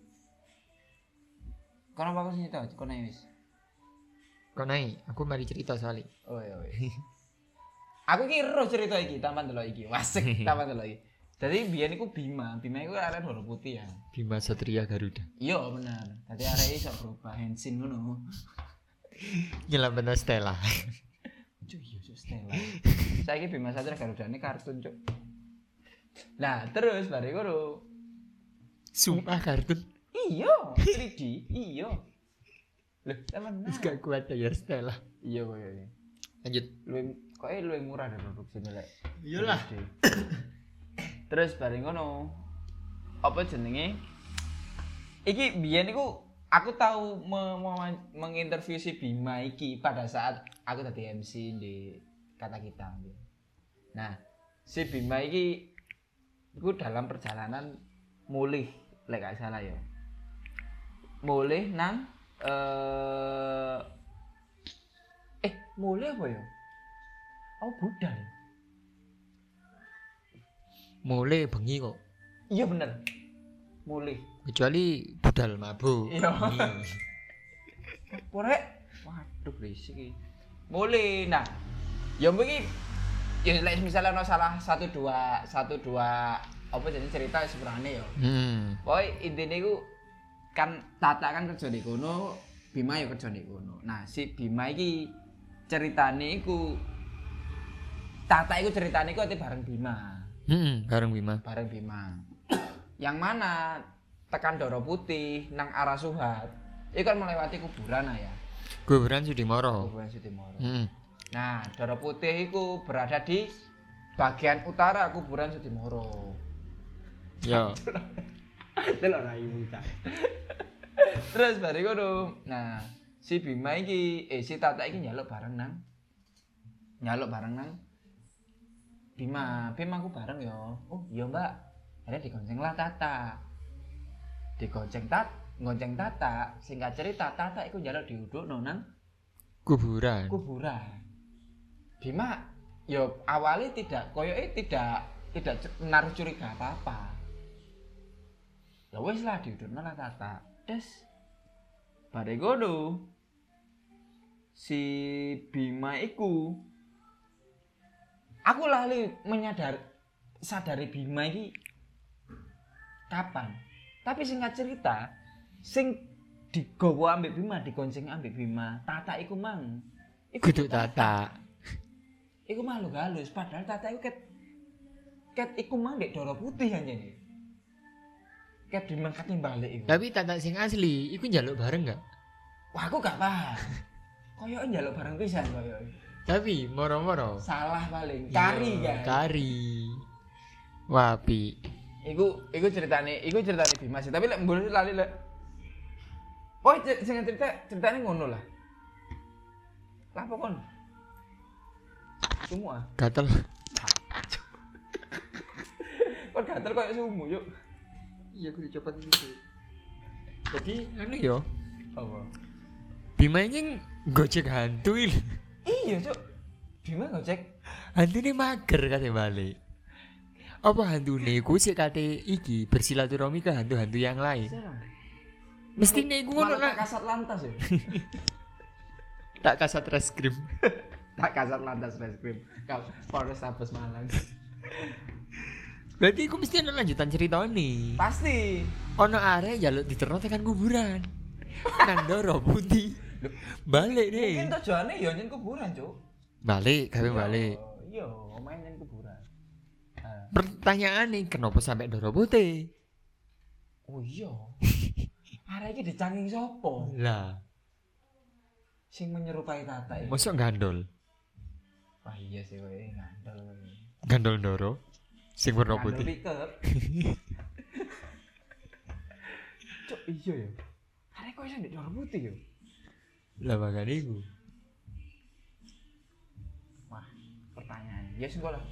[SPEAKER 3] Kenapa aku sih tau? Kau wis.
[SPEAKER 4] Kok naik? Aku mari cerita soalnya.
[SPEAKER 3] Oh iya. iya. aku iki ero cerita iki, taman delok iki. Wasik, taman delok iki. Jadi biyen iku Bima, Bima iku arek warna putih ya.
[SPEAKER 4] Bima Satria Garuda.
[SPEAKER 3] Iya bener. Dadi arek iso berubah hensin ngono.
[SPEAKER 4] Nyelametna Iya Stella.
[SPEAKER 3] Cuk iya cuk Stella. Saiki Bima Satria Garudane kartun cuk. Nah, terus bari ngono.
[SPEAKER 4] Sumpah kartun.
[SPEAKER 3] Iya, 3D. Iya. Loh, temenan.
[SPEAKER 4] Wis gak kuat ya Stella.
[SPEAKER 3] Iya kok iya.
[SPEAKER 4] Lanjut.
[SPEAKER 3] Lu kok lu murah deh produksi lek.
[SPEAKER 4] Iyalah.
[SPEAKER 3] Terus bareng ngono. Apa jenenge? Iki biyen iku aku tahu me- me- menginterview si Bima iki pada saat aku tadi MC di kata kita. Nah, si Bima iki iku dalam perjalanan mulih lek gak salah ya. Mulih nang eh eh mulih apa ya? Oh, budal. ya?
[SPEAKER 4] Mulai bengi kok.
[SPEAKER 3] Iya bener. Mulih.
[SPEAKER 4] Kecuali budal mabuk. Hmm.
[SPEAKER 3] Iya. Porek. Waduh berisik iki. Mulih. Nah, ya mungkin ya like misalnya ono salah satu dua satu dua apa jadi cerita sebenarnya ya.
[SPEAKER 4] Hmm.
[SPEAKER 3] Pokoknya intinya itu kan Tata kan kerja di kono, Bima ya kerja di kono. Nah si Bima ini ceritanya itu Tata itu ceritanya itu nanti bareng Bima,
[SPEAKER 4] Hmm, bareng Bima.
[SPEAKER 3] bareng Bima. Yang mana tekan Doro Putih nang arah Suhat, itu kan melewati kuburan ah ya,
[SPEAKER 4] Kuburan Sudimoro.
[SPEAKER 3] kuburan Sudimoro.
[SPEAKER 4] Hmm.
[SPEAKER 3] Nah Doro Putih itu berada di bagian utara kuburan Sudimoro.
[SPEAKER 4] Yo.
[SPEAKER 3] Delok rayu ta. Terus bari ngono. Nah, si Bima iki eh si Tata iki nyaluk bareng nang. Nyaluk bareng nang. Bima, Bima aku bareng yo. Oh, iya Mbak. Ada digonceng lah Tata. Digonceng Tat, ngonceng Tata. Singkat cerita Tata iku nyaluk diudukno nang
[SPEAKER 4] Kuburan.
[SPEAKER 3] kuburan. Bima, yo awalnya tidak, koyoke tidak tidak cu- menaruh curiga apa apa. Ya wes lah diudurno lah tata. Des. Bare ngono. Si Bima iku aku lali menyadari sadari Bima iki kapan. Tapi singkat cerita, sing digawa ambek Bima, digonceng ambek Bima, tata iku mang. Iku
[SPEAKER 4] Guduk tata.
[SPEAKER 3] iku makhluk halus padahal tata iku ket ket iku mang dek doro putih aja nih ket dimangkati balik iku
[SPEAKER 4] Tapi tata sing asli, iku njaluk bareng gak?
[SPEAKER 3] wah aku gak paham koyo njaluk bareng pisan koyo
[SPEAKER 4] Tapi moro-moro.
[SPEAKER 3] salah paling cari
[SPEAKER 4] Iya,
[SPEAKER 3] kan
[SPEAKER 4] Kari. Wapi.
[SPEAKER 3] iku iku ceritane iku ceritane Dimas tapi lek mbul lali lek oh cer- sing cerita ceritane ngono lah lah apa kon semua
[SPEAKER 4] Gatel.
[SPEAKER 3] kon gatel koyo sumu yuk
[SPEAKER 4] Iya, aku dicoba gitu. Jadi, anu yo.
[SPEAKER 3] apa
[SPEAKER 4] Bima ini gojek hantu ini.
[SPEAKER 3] iya cuk Bima ngecek
[SPEAKER 4] Hantu ini mager kate balik. Apa hantu ini? Ku sih kate iki bersilaturahmi ke hantu-hantu yang lain. Mesti nih gue ngono
[SPEAKER 3] Malah
[SPEAKER 4] lah.
[SPEAKER 3] tak kasat lantas ya.
[SPEAKER 4] Tak kasat reskrim.
[SPEAKER 3] tak kasat lantas reskrim. Kau Polres Sabes Malang.
[SPEAKER 4] Berarti aku mesti ada lanjutan cerita nih.
[SPEAKER 3] Pasti.
[SPEAKER 4] Ono are jaluk diterno tekan kuburan. Nandoro putih. Balik
[SPEAKER 3] Mungkin
[SPEAKER 4] deh.
[SPEAKER 3] tujuannya ya nyen kuburan, Cuk.
[SPEAKER 4] Balik, kami
[SPEAKER 3] Iya,
[SPEAKER 4] balik.
[SPEAKER 3] Iya, main nyen kuburan. Ah,
[SPEAKER 4] Pertanyaan nih, kenapa sampai Doro Putih?
[SPEAKER 3] oh iya. arek iki dicangking sapa
[SPEAKER 4] Lah,
[SPEAKER 3] sing menyerupai tata iki
[SPEAKER 4] mosok gandol.
[SPEAKER 3] wah iya sih kowe ngandel kowe.
[SPEAKER 4] Gandol ndoro sing warna
[SPEAKER 3] Ngandel
[SPEAKER 4] putih.
[SPEAKER 3] pickup. Cuk, iya ya. Arek kok iso ndek warna putih ya?
[SPEAKER 4] Lah makane iku.
[SPEAKER 3] Wah, pertanyaan. Ya sing lah.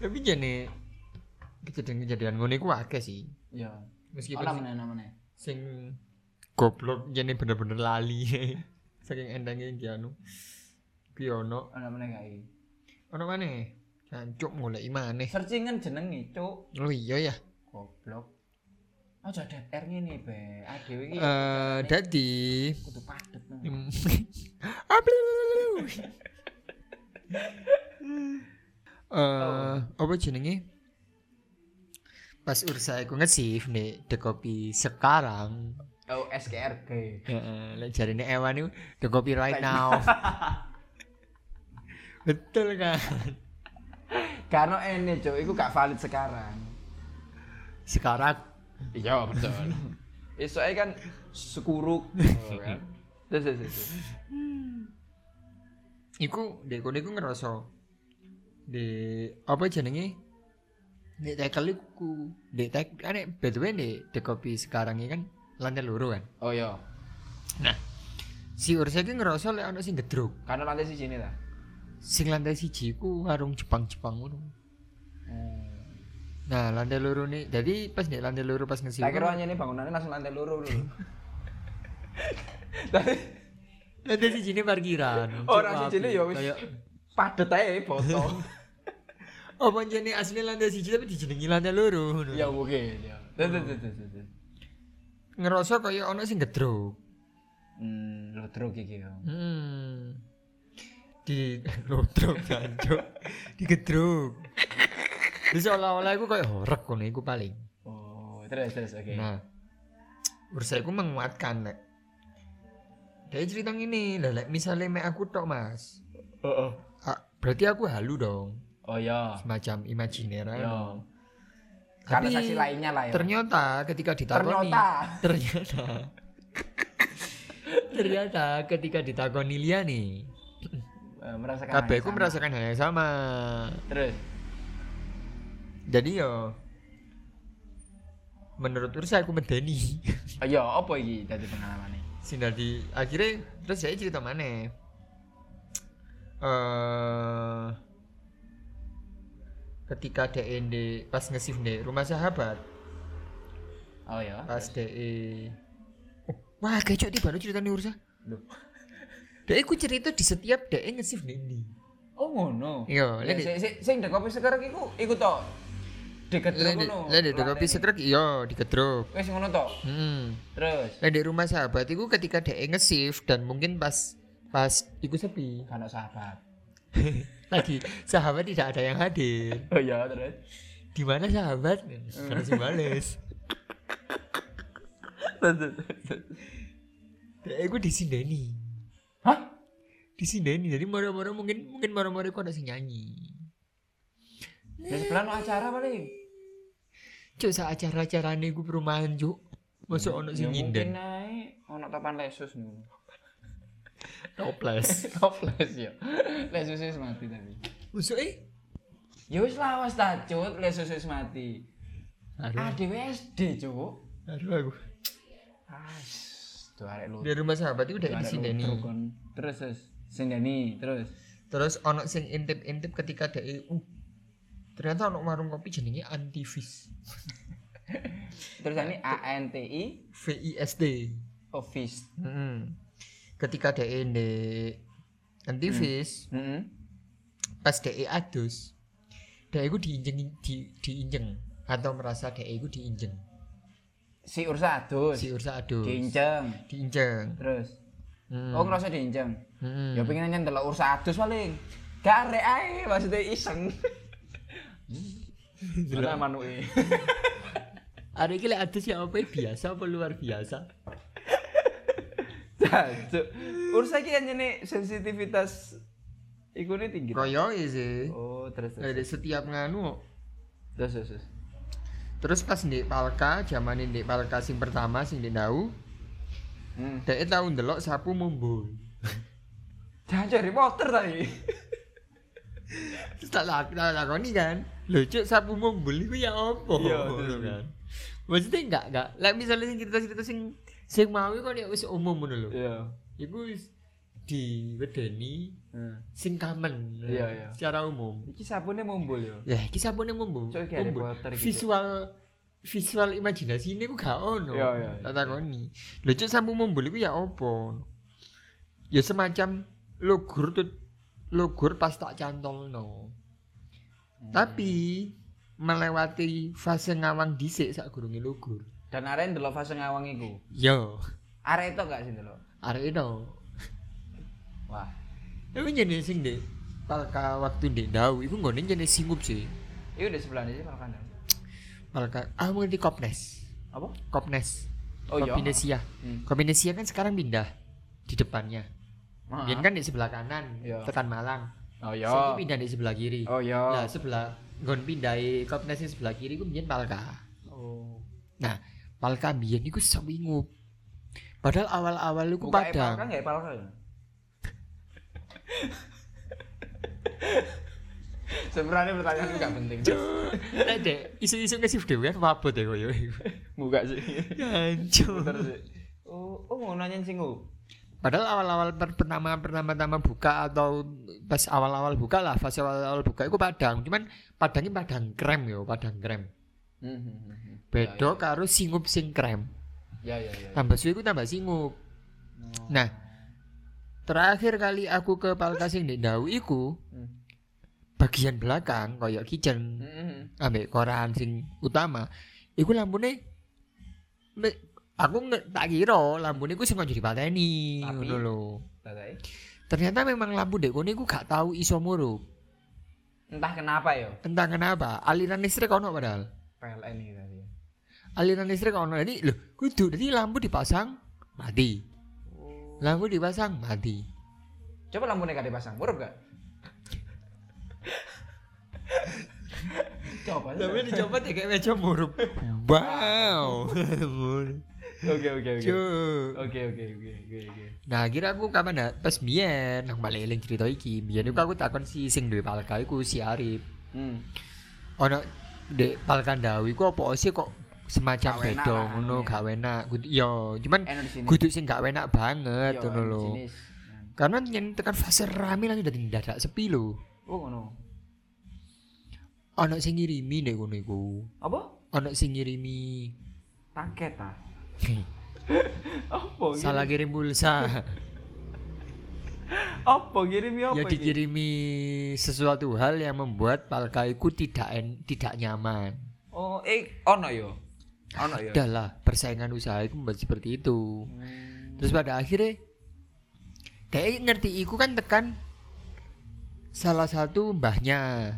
[SPEAKER 4] Tapi jane kejadian-kejadian ngene iku akeh sih.
[SPEAKER 3] Ya.
[SPEAKER 4] Meskipun
[SPEAKER 3] Ora
[SPEAKER 4] sing-
[SPEAKER 3] meneh namane.
[SPEAKER 4] sing goblok jane bener-bener lali. Saking endangnya iki anu. Ki ono
[SPEAKER 3] Ora meneh gak iki.
[SPEAKER 4] ono maneh. Jancuk ngoleki maneh.
[SPEAKER 3] Searching kan jenenge, Cuk.
[SPEAKER 4] Oh iya ya.
[SPEAKER 3] Goblok. Aja DPR ngene, Be. Ah dhewe iki
[SPEAKER 4] Eh, dadi
[SPEAKER 3] kudu padet. no.
[SPEAKER 4] Hmm. Ablulu. Eh, apa jenenge? Pas Ursa iku ngesif nih The Kopi sekarang.
[SPEAKER 3] Oh, SKRG.
[SPEAKER 4] Heeh, lek jarine Ewan iku The Kopi right now. Betul kan?
[SPEAKER 3] Karena ini, Cuk, iku gak valid sekarang.
[SPEAKER 4] Sekarang
[SPEAKER 3] Iya, betul. Esoke kan sekuruk. Oh, kan. Terus, terus, terus.
[SPEAKER 4] iku dek kono iku ngerasa di apa jenenge? Nek tekel iku, dek tek ane by the way nek The Kopi sekarang ini kan lantai loro kan.
[SPEAKER 3] Oh, iya.
[SPEAKER 4] Nah, si Ursa iki ngerasa lek ana sing gedruk.
[SPEAKER 3] Karena lantai sih sini lah.
[SPEAKER 4] Sing lantai siji ku warung Jepang-Jepang ngono.
[SPEAKER 3] Hmm.
[SPEAKER 4] Nah, lantai loro nih. Jadi pas nek lantai loro pas ngesi.
[SPEAKER 3] Tak kira hanya ini bangunannya langsung lantai loro dulu. Tapi
[SPEAKER 4] Lantai siji ini parkiran.
[SPEAKER 3] orang
[SPEAKER 4] Cuma
[SPEAKER 3] sih sini
[SPEAKER 4] api.
[SPEAKER 3] ya wis
[SPEAKER 4] Kayak,
[SPEAKER 3] padet aja foto.
[SPEAKER 4] Oh, panjene asli lantai siji tapi dijenengi lantai loro ngono.
[SPEAKER 3] Ya mungkin ya. Tuh tuh tuh tuh, tuh tuh.
[SPEAKER 4] Ngerasa kaya ana sing gedruk.
[SPEAKER 3] Hmm, lo truk iki ya.
[SPEAKER 4] Hmm. Di lodrok jancuk. Digedruk. Terus olah-olah iku kaya horek ngono iku paling.
[SPEAKER 3] Oh, terus terus oke.
[SPEAKER 4] Nah, Ursa iku menguatkan lek. Dia cerita gini, lah lek misalnya mek aku tok mas,
[SPEAKER 3] Oh oh.
[SPEAKER 4] Ah, berarti aku halu dong,
[SPEAKER 3] Oh ya.
[SPEAKER 4] semacam imajiner.
[SPEAKER 3] Ya.
[SPEAKER 4] aja.
[SPEAKER 3] Karena
[SPEAKER 4] Tapi
[SPEAKER 3] saksi lainnya lah ya.
[SPEAKER 4] Ternyata ketika ditakoni,
[SPEAKER 3] Ternyata.
[SPEAKER 4] ternyata, ternyata ketika ditakoni Lia nih,
[SPEAKER 3] Eh, merasakan. hal
[SPEAKER 4] kabeh
[SPEAKER 3] yang
[SPEAKER 4] aku
[SPEAKER 3] sama.
[SPEAKER 4] merasakan hal yang sama.
[SPEAKER 3] Terus.
[SPEAKER 4] Jadi yo, menurut Ursa aku medeni.
[SPEAKER 3] Oh ya, apa iki dari pengalamannya?
[SPEAKER 4] sing dadi akhirnya terus saya cerita mana eh ketika DE di pas ngesif di rumah sahabat
[SPEAKER 3] Oh ya.
[SPEAKER 4] pas DE oh, wah kecok di baru ya? cerita nih ursa
[SPEAKER 3] Loh.
[SPEAKER 4] DE E ku cerita di setiap E DE ngesif di ini
[SPEAKER 3] Oh ngono.
[SPEAKER 4] Iya,
[SPEAKER 3] Ya,
[SPEAKER 4] lek-
[SPEAKER 3] sing- sing- sing dek kopi sekarang iku iku to. Deket
[SPEAKER 4] lede lede di kopi sekrek iya digedruk
[SPEAKER 3] Wis ngono to.
[SPEAKER 4] hmm
[SPEAKER 3] Terus.
[SPEAKER 4] lede rumah sahabat itu ketika DE ngesif dan mungkin pas pas iku sepi
[SPEAKER 3] Kalau sahabat.
[SPEAKER 4] lagi sahabat tidak ada yang hadir
[SPEAKER 3] Oh iya, terus.
[SPEAKER 4] di mana sahabat Kan harus bales Dek, aku di sini
[SPEAKER 3] Hah?
[SPEAKER 4] di sini jadi moro-moro mungkin mungkin moro-moro aku ada sing nyanyi
[SPEAKER 3] Di sebelah no acara paling.
[SPEAKER 4] cuk sa acara-acara nih gue perumahan cuk masuk ono
[SPEAKER 3] Ya
[SPEAKER 4] sing
[SPEAKER 3] mungkin
[SPEAKER 4] nyinden
[SPEAKER 3] nae ono topan lesus ngono.
[SPEAKER 4] toples
[SPEAKER 3] Toples ya. Lesus wis mati tapi.
[SPEAKER 4] masuk eh
[SPEAKER 3] Ya wis lawas ta, Cuk. Lesus wis mati.
[SPEAKER 4] aduh
[SPEAKER 3] Adewe SD, Cuk.
[SPEAKER 4] aduh aku
[SPEAKER 3] As, tuh arek lu.
[SPEAKER 4] dari rumah sahabat itu udah
[SPEAKER 3] arek
[SPEAKER 4] di
[SPEAKER 3] lu
[SPEAKER 4] sini nih
[SPEAKER 3] trukon. Terus, terus. Sindeni, terus.
[SPEAKER 4] terus ono sing intip-intip ketika ada uh ternyata ono warung kopi jenenge antivis
[SPEAKER 3] Terus ini ANTI
[SPEAKER 4] VISD
[SPEAKER 3] office.
[SPEAKER 4] Mm-mm. Ketika DE di aktivis,
[SPEAKER 3] Heeh.
[SPEAKER 4] pas DE adus, DE ku diinjeng di, diinjeng atau merasa DE ku diinjeng.
[SPEAKER 3] Si Ursa adus.
[SPEAKER 4] Si Ursa adus.
[SPEAKER 3] Diinceng.
[SPEAKER 4] Diinjeng.
[SPEAKER 3] Terus.
[SPEAKER 4] Hmm.
[SPEAKER 3] Oh, ngerasa diinceng.
[SPEAKER 4] Mm.
[SPEAKER 3] Ya pengen nyen delok ursa adus paling. Gak arek ae maksudnya iseng. Delok manuke.
[SPEAKER 4] Ada iki lek adus ya apa ya? biasa apa luar biasa?
[SPEAKER 3] Jancuk. Ursa iki anjene kan sensitivitas ikune tinggi.
[SPEAKER 4] Koyo sih.
[SPEAKER 3] Oh, terus terus
[SPEAKER 4] Dari setiap nganu
[SPEAKER 3] terus. terus, terus.
[SPEAKER 4] terus pas di Palka zaman di Palka sing pertama sing di Dau
[SPEAKER 3] Hmm.
[SPEAKER 4] dia tahu ndelok sapu mumbul
[SPEAKER 3] Jangan Harry Potter tadi.
[SPEAKER 4] Terus tak lak tak lakoni kan. Lho cuk sapu mumbul iku ya apa?
[SPEAKER 3] Iya,
[SPEAKER 4] Ngono
[SPEAKER 3] betul.
[SPEAKER 4] kan. Maksudnya enggak enggak. Lah misalnya sing cerita-cerita sing sing mau iku nek wis umum ngono lho.
[SPEAKER 3] Iya.
[SPEAKER 4] Iku wis diwedeni
[SPEAKER 3] Hmm.
[SPEAKER 4] sing common
[SPEAKER 3] Iya, iya.
[SPEAKER 4] secara umum.
[SPEAKER 3] Iki sabune mumbul ya.
[SPEAKER 4] Ya iki sapune mumbul.
[SPEAKER 3] Cuk, iki Harry
[SPEAKER 4] Mumbul.
[SPEAKER 3] Potter iki, Cuk.
[SPEAKER 4] Visual visual imajinasi ini ku gak ono.
[SPEAKER 3] Iya, iya, iya.
[SPEAKER 4] Tak takoni. Lho cuk sapu mumbul iku ya apa? Ya semacam logur tut logur pas tak cantolno.
[SPEAKER 3] Hmm.
[SPEAKER 4] Tapi melewati fase ngawang dhisik sak gurunge lugur.
[SPEAKER 3] Dan arek ndelok fase ngawang iku.
[SPEAKER 4] Yo,
[SPEAKER 3] Arek itu gak sih ndelok?
[SPEAKER 4] arek itu.
[SPEAKER 3] Wah.
[SPEAKER 4] Tapi jenis sing deh. Palka waktu ndek dau iku nggone jenis singup sih.
[SPEAKER 3] Iku di sebelah ini kalau kandang.
[SPEAKER 4] Palka ah ngerti Kopnes.
[SPEAKER 3] Apa?
[SPEAKER 4] Kopnes.
[SPEAKER 3] Oh, iya.
[SPEAKER 4] Kombinesia.
[SPEAKER 3] Hmm.
[SPEAKER 4] Kombinesia kan sekarang pindah di depannya.
[SPEAKER 3] Ah.
[SPEAKER 4] Biyen kan di sebelah kanan,
[SPEAKER 3] Iya.
[SPEAKER 4] tekan Malang.
[SPEAKER 3] Oh
[SPEAKER 4] Saiki pindah di sebelah kiri.
[SPEAKER 3] Oh iya.
[SPEAKER 4] Nah, sebelah nggon pindai Kopnes yang sebelah kiri ku biyen Palka.
[SPEAKER 3] Oh.
[SPEAKER 4] Nah, Palka biyen iku sewingup. Padahal awal-awal iku
[SPEAKER 3] Bukae
[SPEAKER 4] padang.
[SPEAKER 3] Palka nggak ya, Palka ya? Sebenarnya pertanyaan itu gak penting.
[SPEAKER 4] Lah Eh, dek, isu-isu ngesif dhewe kan mabot ya koyo iku.
[SPEAKER 3] Buka sih.
[SPEAKER 4] Hancur.
[SPEAKER 3] Bentar sih. Oh, oh mau nanyain singu.
[SPEAKER 4] Padahal awal-awal per- pertama pertama-tama buka atau pas awal-awal buka lah, fase awal-awal buka iku padang. Cuman padangnya padang krem yo, padang krem.
[SPEAKER 3] Hmm,
[SPEAKER 4] Bedo karo singup sing krem.
[SPEAKER 3] Ya ya ya.
[SPEAKER 4] Tambah suwe iku tambah singup. Nah, terakhir kali aku ke Palka sing ndek Ndau iku bagian belakang koyo kitchen.
[SPEAKER 3] Hmm,
[SPEAKER 4] ambek koran sing utama iku lampune me- aku nge, tak kira lampune iku sing kanggo dipateni
[SPEAKER 3] Tapi-
[SPEAKER 4] ngono lho
[SPEAKER 3] Tadai.
[SPEAKER 4] ternyata memang lampu dek kono iku gak tahu iso murup
[SPEAKER 3] Entah kenapa ya.
[SPEAKER 4] entah kenapa aliran listrik ono padahal
[SPEAKER 3] PLN ini tadi.
[SPEAKER 4] aliran listrik ono jadi lho kudu jadi lampu dipasang mati lampu dipasang mati
[SPEAKER 3] Coba lampunya gak dipasang, murup gak? Coba. Oke
[SPEAKER 4] dicoba deh kayak meja murup wow
[SPEAKER 3] oke oke.
[SPEAKER 4] Cuk.
[SPEAKER 3] Oke oke oke oke oke.
[SPEAKER 4] Nah, kira aku kapan dah pas biyen nang balik eling cerita iki. Biyen iku aku takon si sing duwe palka iku si Arif.
[SPEAKER 3] Hmm.
[SPEAKER 4] Ono dek palka ndawi iku apa sih kok semacam
[SPEAKER 3] Gak enak
[SPEAKER 4] beda
[SPEAKER 3] lah,
[SPEAKER 4] ngono
[SPEAKER 3] iya. Eh,
[SPEAKER 4] gak enak. Kudu yo, cuman
[SPEAKER 3] Enak di sini.
[SPEAKER 4] kudu sing gak enak banget
[SPEAKER 3] Yo,
[SPEAKER 4] ngono
[SPEAKER 3] enak
[SPEAKER 4] lho.
[SPEAKER 3] jenis.
[SPEAKER 4] Karena yen tekan fase rame langsung dadi dadak sepi lho.
[SPEAKER 3] Oh ngono.
[SPEAKER 4] Ono sing ngirimi nek ngono iku.
[SPEAKER 3] Apa?
[SPEAKER 4] Ono sing ngirimi
[SPEAKER 3] Paket ah. Apa? ngirim-
[SPEAKER 4] salah kirim
[SPEAKER 3] Iya,
[SPEAKER 4] pulsa.
[SPEAKER 3] Apa ngirim ya apa?
[SPEAKER 4] ya
[SPEAKER 3] iki?
[SPEAKER 4] dikirimi sesuatu hal yang membuat palka iku tidak en- tidak nyaman.
[SPEAKER 3] Oh, eh ono yo. Ono yo.
[SPEAKER 4] Udah lah persaingan usaha itu membuat seperti itu terus pada akhirnya kayak ngerti iku kan tekan salah satu mbahnya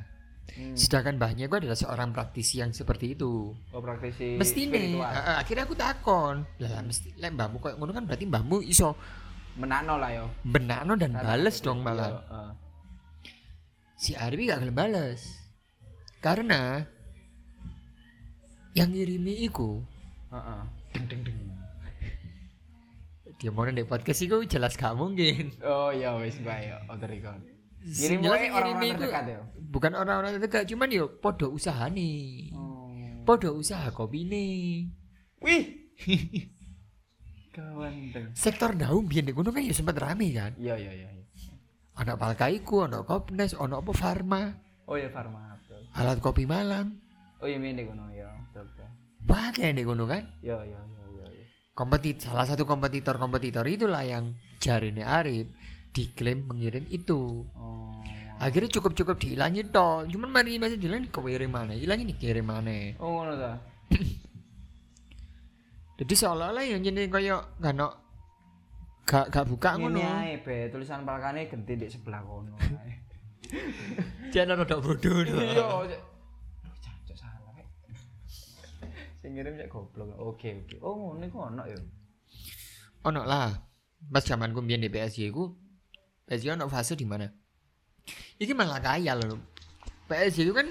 [SPEAKER 3] Hmm.
[SPEAKER 4] sedangkan mbahnya gua adalah seorang praktisi yang seperti itu
[SPEAKER 3] Oh, praktisi
[SPEAKER 4] mesti nih
[SPEAKER 3] spiritual.
[SPEAKER 4] ah, ah, akhirnya aku takon lah mesti lah mbahmu kayak ngono kan berarti mbahmu iso
[SPEAKER 3] Menakno lah yo.
[SPEAKER 4] benakno dan
[SPEAKER 3] Karena
[SPEAKER 4] bales
[SPEAKER 3] aku-
[SPEAKER 4] dong
[SPEAKER 3] Yo,
[SPEAKER 4] malah
[SPEAKER 3] eh.
[SPEAKER 4] si Arbi gak gelem bales karena yang ngirimi iku
[SPEAKER 3] Heeh.
[SPEAKER 4] dia mau nendek podcast iku jelas gak mungkin
[SPEAKER 3] Oh ya wis bae yo. Outer record. Ngirim wae
[SPEAKER 4] Jelas
[SPEAKER 3] orang-orang
[SPEAKER 4] ngirimi iku-
[SPEAKER 3] terdekat yo.
[SPEAKER 4] bukan orang-orang terdekat cuman yo podo usaha nih
[SPEAKER 3] Oh.
[SPEAKER 4] podo usaha kopi nih
[SPEAKER 3] Wih. Kawan deng.
[SPEAKER 4] sektor daun biar di gunung kan ya sempat rame kan
[SPEAKER 3] Iya iya iya. iya.
[SPEAKER 4] ada palkaiku ada kopnes ada apa farma
[SPEAKER 3] Oh ya Farma betul.
[SPEAKER 4] alat kopi malam
[SPEAKER 3] Oh iya mene kono ya. Betul. betul.
[SPEAKER 4] pakai di gunung kan
[SPEAKER 3] Yo yo yo yo. yo.
[SPEAKER 4] kompetit salah satu kompetitor kompetitor itulah yang jarine Arif diklaim mengirim itu
[SPEAKER 3] Oh.
[SPEAKER 4] akhirnya cukup cukup dihilangin toh cuman mari masih dihilangin kewirim mana hilangin dikirim mana
[SPEAKER 3] Oh ngono ta.
[SPEAKER 4] jadi seolah-olah yang jenis koyo gak no gak gak buka
[SPEAKER 3] Ngene
[SPEAKER 4] ngono
[SPEAKER 3] ae be tulisan palkane genti di sebelah kono. ae.
[SPEAKER 4] Jangan rodok bodoh
[SPEAKER 3] Iya. cek. Aduh, cancuk salah. rek. Sing ngirim cek goblok. Oke oke. Oh ngono iku ono ya.
[SPEAKER 4] Ono lah. Pas zaman ku mbiyen di PSG ku PSG ono fase di mana? Iki malah kaya loh. PSG itu kan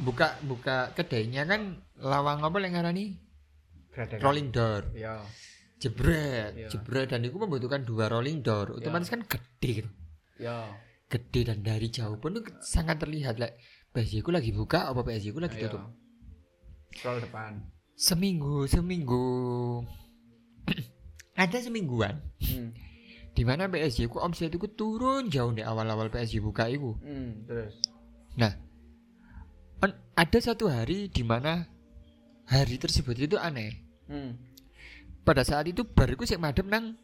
[SPEAKER 4] buka buka kedainya kan lawang apa yang ngarani
[SPEAKER 3] Gradeng.
[SPEAKER 4] rolling door
[SPEAKER 3] Ya.
[SPEAKER 4] jebret
[SPEAKER 3] Iya.
[SPEAKER 4] jebret dan itu membutuhkan dua rolling door otomatis kan gede gitu
[SPEAKER 3] Ya.
[SPEAKER 4] gede dan dari jauh pun itu sangat terlihat like PSG ku lagi buka apa PSG ku lagi
[SPEAKER 3] Ayo.
[SPEAKER 4] tutup
[SPEAKER 3] Iya. Roll depan.
[SPEAKER 4] seminggu seminggu ada semingguan
[SPEAKER 3] Hmm.
[SPEAKER 4] di mana PSG ku omset itu turun jauh di awal-awal PSG buka itu
[SPEAKER 3] Hmm. Terus.
[SPEAKER 4] nah on- ada satu hari di mana hari tersebut itu aneh
[SPEAKER 3] Hmm.
[SPEAKER 4] pada saat itu bar iku sik madep nang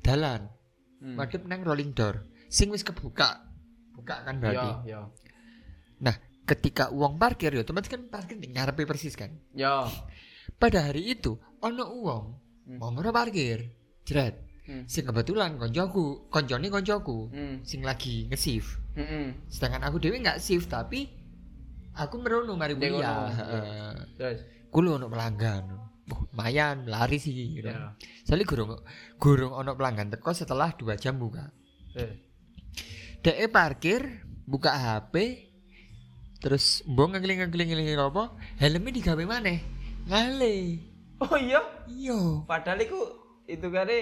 [SPEAKER 4] dalan,
[SPEAKER 3] Hmm.
[SPEAKER 4] madep nang rolling door. Sing wis kebuka. Buka kan berarti.
[SPEAKER 3] Ya, ya.
[SPEAKER 4] Ketika uang parkir ya otomatis kan parkir di ngarepe persis kan.
[SPEAKER 3] Ya.
[SPEAKER 4] Pada hari itu ono uang
[SPEAKER 3] Hmm.
[SPEAKER 4] mau ngono parkir. Jret.
[SPEAKER 3] Hmm.
[SPEAKER 4] Sing kebetulan koncoku, koncone koncoku
[SPEAKER 3] Hmm.
[SPEAKER 4] sing lagi nge-shift.
[SPEAKER 3] Hmm.
[SPEAKER 4] Sedangkan aku dewe nggak shift tapi aku merunung mari
[SPEAKER 3] Dia
[SPEAKER 4] kuliah.
[SPEAKER 3] ngono, iya.
[SPEAKER 4] Heeh.
[SPEAKER 3] Terus.
[SPEAKER 4] Kulo ono pelanggan. Oh, lumayan lari sih gitu.
[SPEAKER 3] Ya.
[SPEAKER 4] Soalnya gurung gurung ono pelanggan teko setelah dua jam buka.
[SPEAKER 3] Terus.
[SPEAKER 4] Dek e parkir, buka HP, terus mbong ngeling ngeling ngeling apa? Helmnya digawe maneh. Ngale.
[SPEAKER 3] Oh iya.
[SPEAKER 4] Iyo.
[SPEAKER 3] Padahal iku itu kare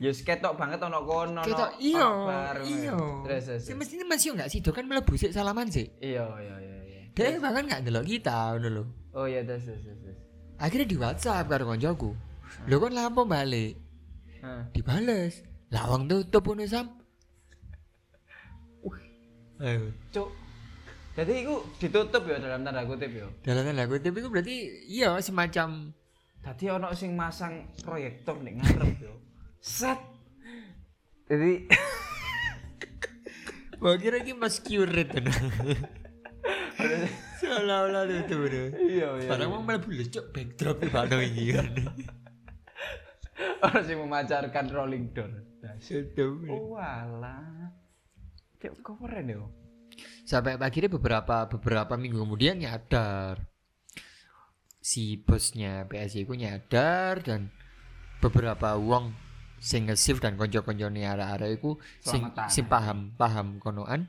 [SPEAKER 3] ya ketok banget ono kono.
[SPEAKER 4] Ketok
[SPEAKER 3] ono
[SPEAKER 4] iyo.
[SPEAKER 3] bar.
[SPEAKER 4] Iyo.
[SPEAKER 3] Terus. terus,
[SPEAKER 4] Sing
[SPEAKER 3] terus.
[SPEAKER 4] mestine masih enggak sih, kan mlebu sik salaman sih.
[SPEAKER 3] Iya, iya, iya, iya.
[SPEAKER 4] Dek bahkan enggak ndelok kita ngono lho.
[SPEAKER 3] Oh iya, terus terus terus. terus.
[SPEAKER 4] Akhirnya di WhatsApp karo koncoku. Lho kan lampu balik.
[SPEAKER 3] Hah.
[SPEAKER 4] Dibales. Lawang tutup ngono Sam. Ayo.
[SPEAKER 3] Cuk. Jadi iku ditutup ya dalam tanda kutip ya.
[SPEAKER 4] Dalam tanda kutip itu berarti iya semacam
[SPEAKER 3] Tadi ono sing masang proyektor ning ngarep yo. Set. Jadi
[SPEAKER 4] Wah kira ini mas curate tuh. Seolah-olah itu bro.
[SPEAKER 3] iya Oh, iya.
[SPEAKER 4] Padahal mau malah boleh cok backdrop di Pak Noy ini kan.
[SPEAKER 3] Orang sing memancarkan rolling door.
[SPEAKER 4] Sedap.
[SPEAKER 3] Oh walah. Cuk keren yo.
[SPEAKER 4] Sampai akhirnya beberapa beberapa minggu kemudian nyadar si bosnya PSI ku nyadar dan beberapa uang sing nge-shift dan konco-koncone arah-arah iku sing
[SPEAKER 3] Selamatan.
[SPEAKER 4] sing paham paham konoan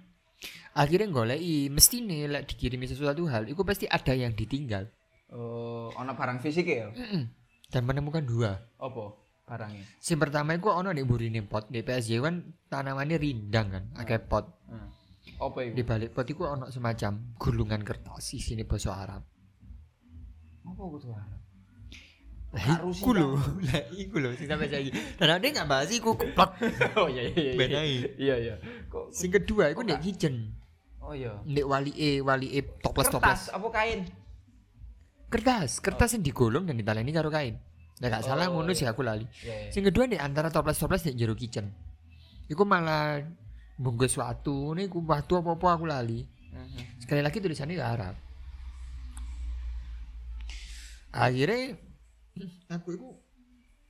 [SPEAKER 4] akhirnya golei mesti nih lek dikirimi sesuatu hal iku pasti ada yang ditinggal
[SPEAKER 3] Oh, ono barang fisik ya?
[SPEAKER 4] dan menemukan dua
[SPEAKER 3] Opo barangnya?
[SPEAKER 4] Sing pertama iku ono nek mburine pot di PSG kan tanamannya rindang kan, akeh pot.
[SPEAKER 3] Hmm. Opo
[SPEAKER 4] Di
[SPEAKER 3] iku?
[SPEAKER 4] balik pot iku ono semacam gulungan kertas isine basa Arab.
[SPEAKER 3] Opo kudu arep?
[SPEAKER 4] Lah
[SPEAKER 3] Karo
[SPEAKER 4] iku lho, lah iku lho sing sampe saiki. Dan ada enggak bahas iku keplot
[SPEAKER 3] Oh iya iya iya.
[SPEAKER 4] benai.
[SPEAKER 3] Iya iya. Kok
[SPEAKER 4] Sing kedua iku nek kitchen,
[SPEAKER 3] Oh iya.
[SPEAKER 4] nek walike walike
[SPEAKER 3] Kertas
[SPEAKER 4] toples-toples.
[SPEAKER 3] apa kain?
[SPEAKER 4] Kertas, kertas yang digolong dan ditaleni karo kain. Nek gak salah
[SPEAKER 3] Oh,
[SPEAKER 4] ngono sih
[SPEAKER 3] iya.
[SPEAKER 4] aku lali.
[SPEAKER 3] Iya. iya.
[SPEAKER 4] Sing kedua nek antara toples-toples nek jero kitchen. Iku malah bungkus watu, niku watu apa-apa aku lali.
[SPEAKER 3] Mhm.
[SPEAKER 4] sekali lagi tulisannya ke Arab akhirnya aku itu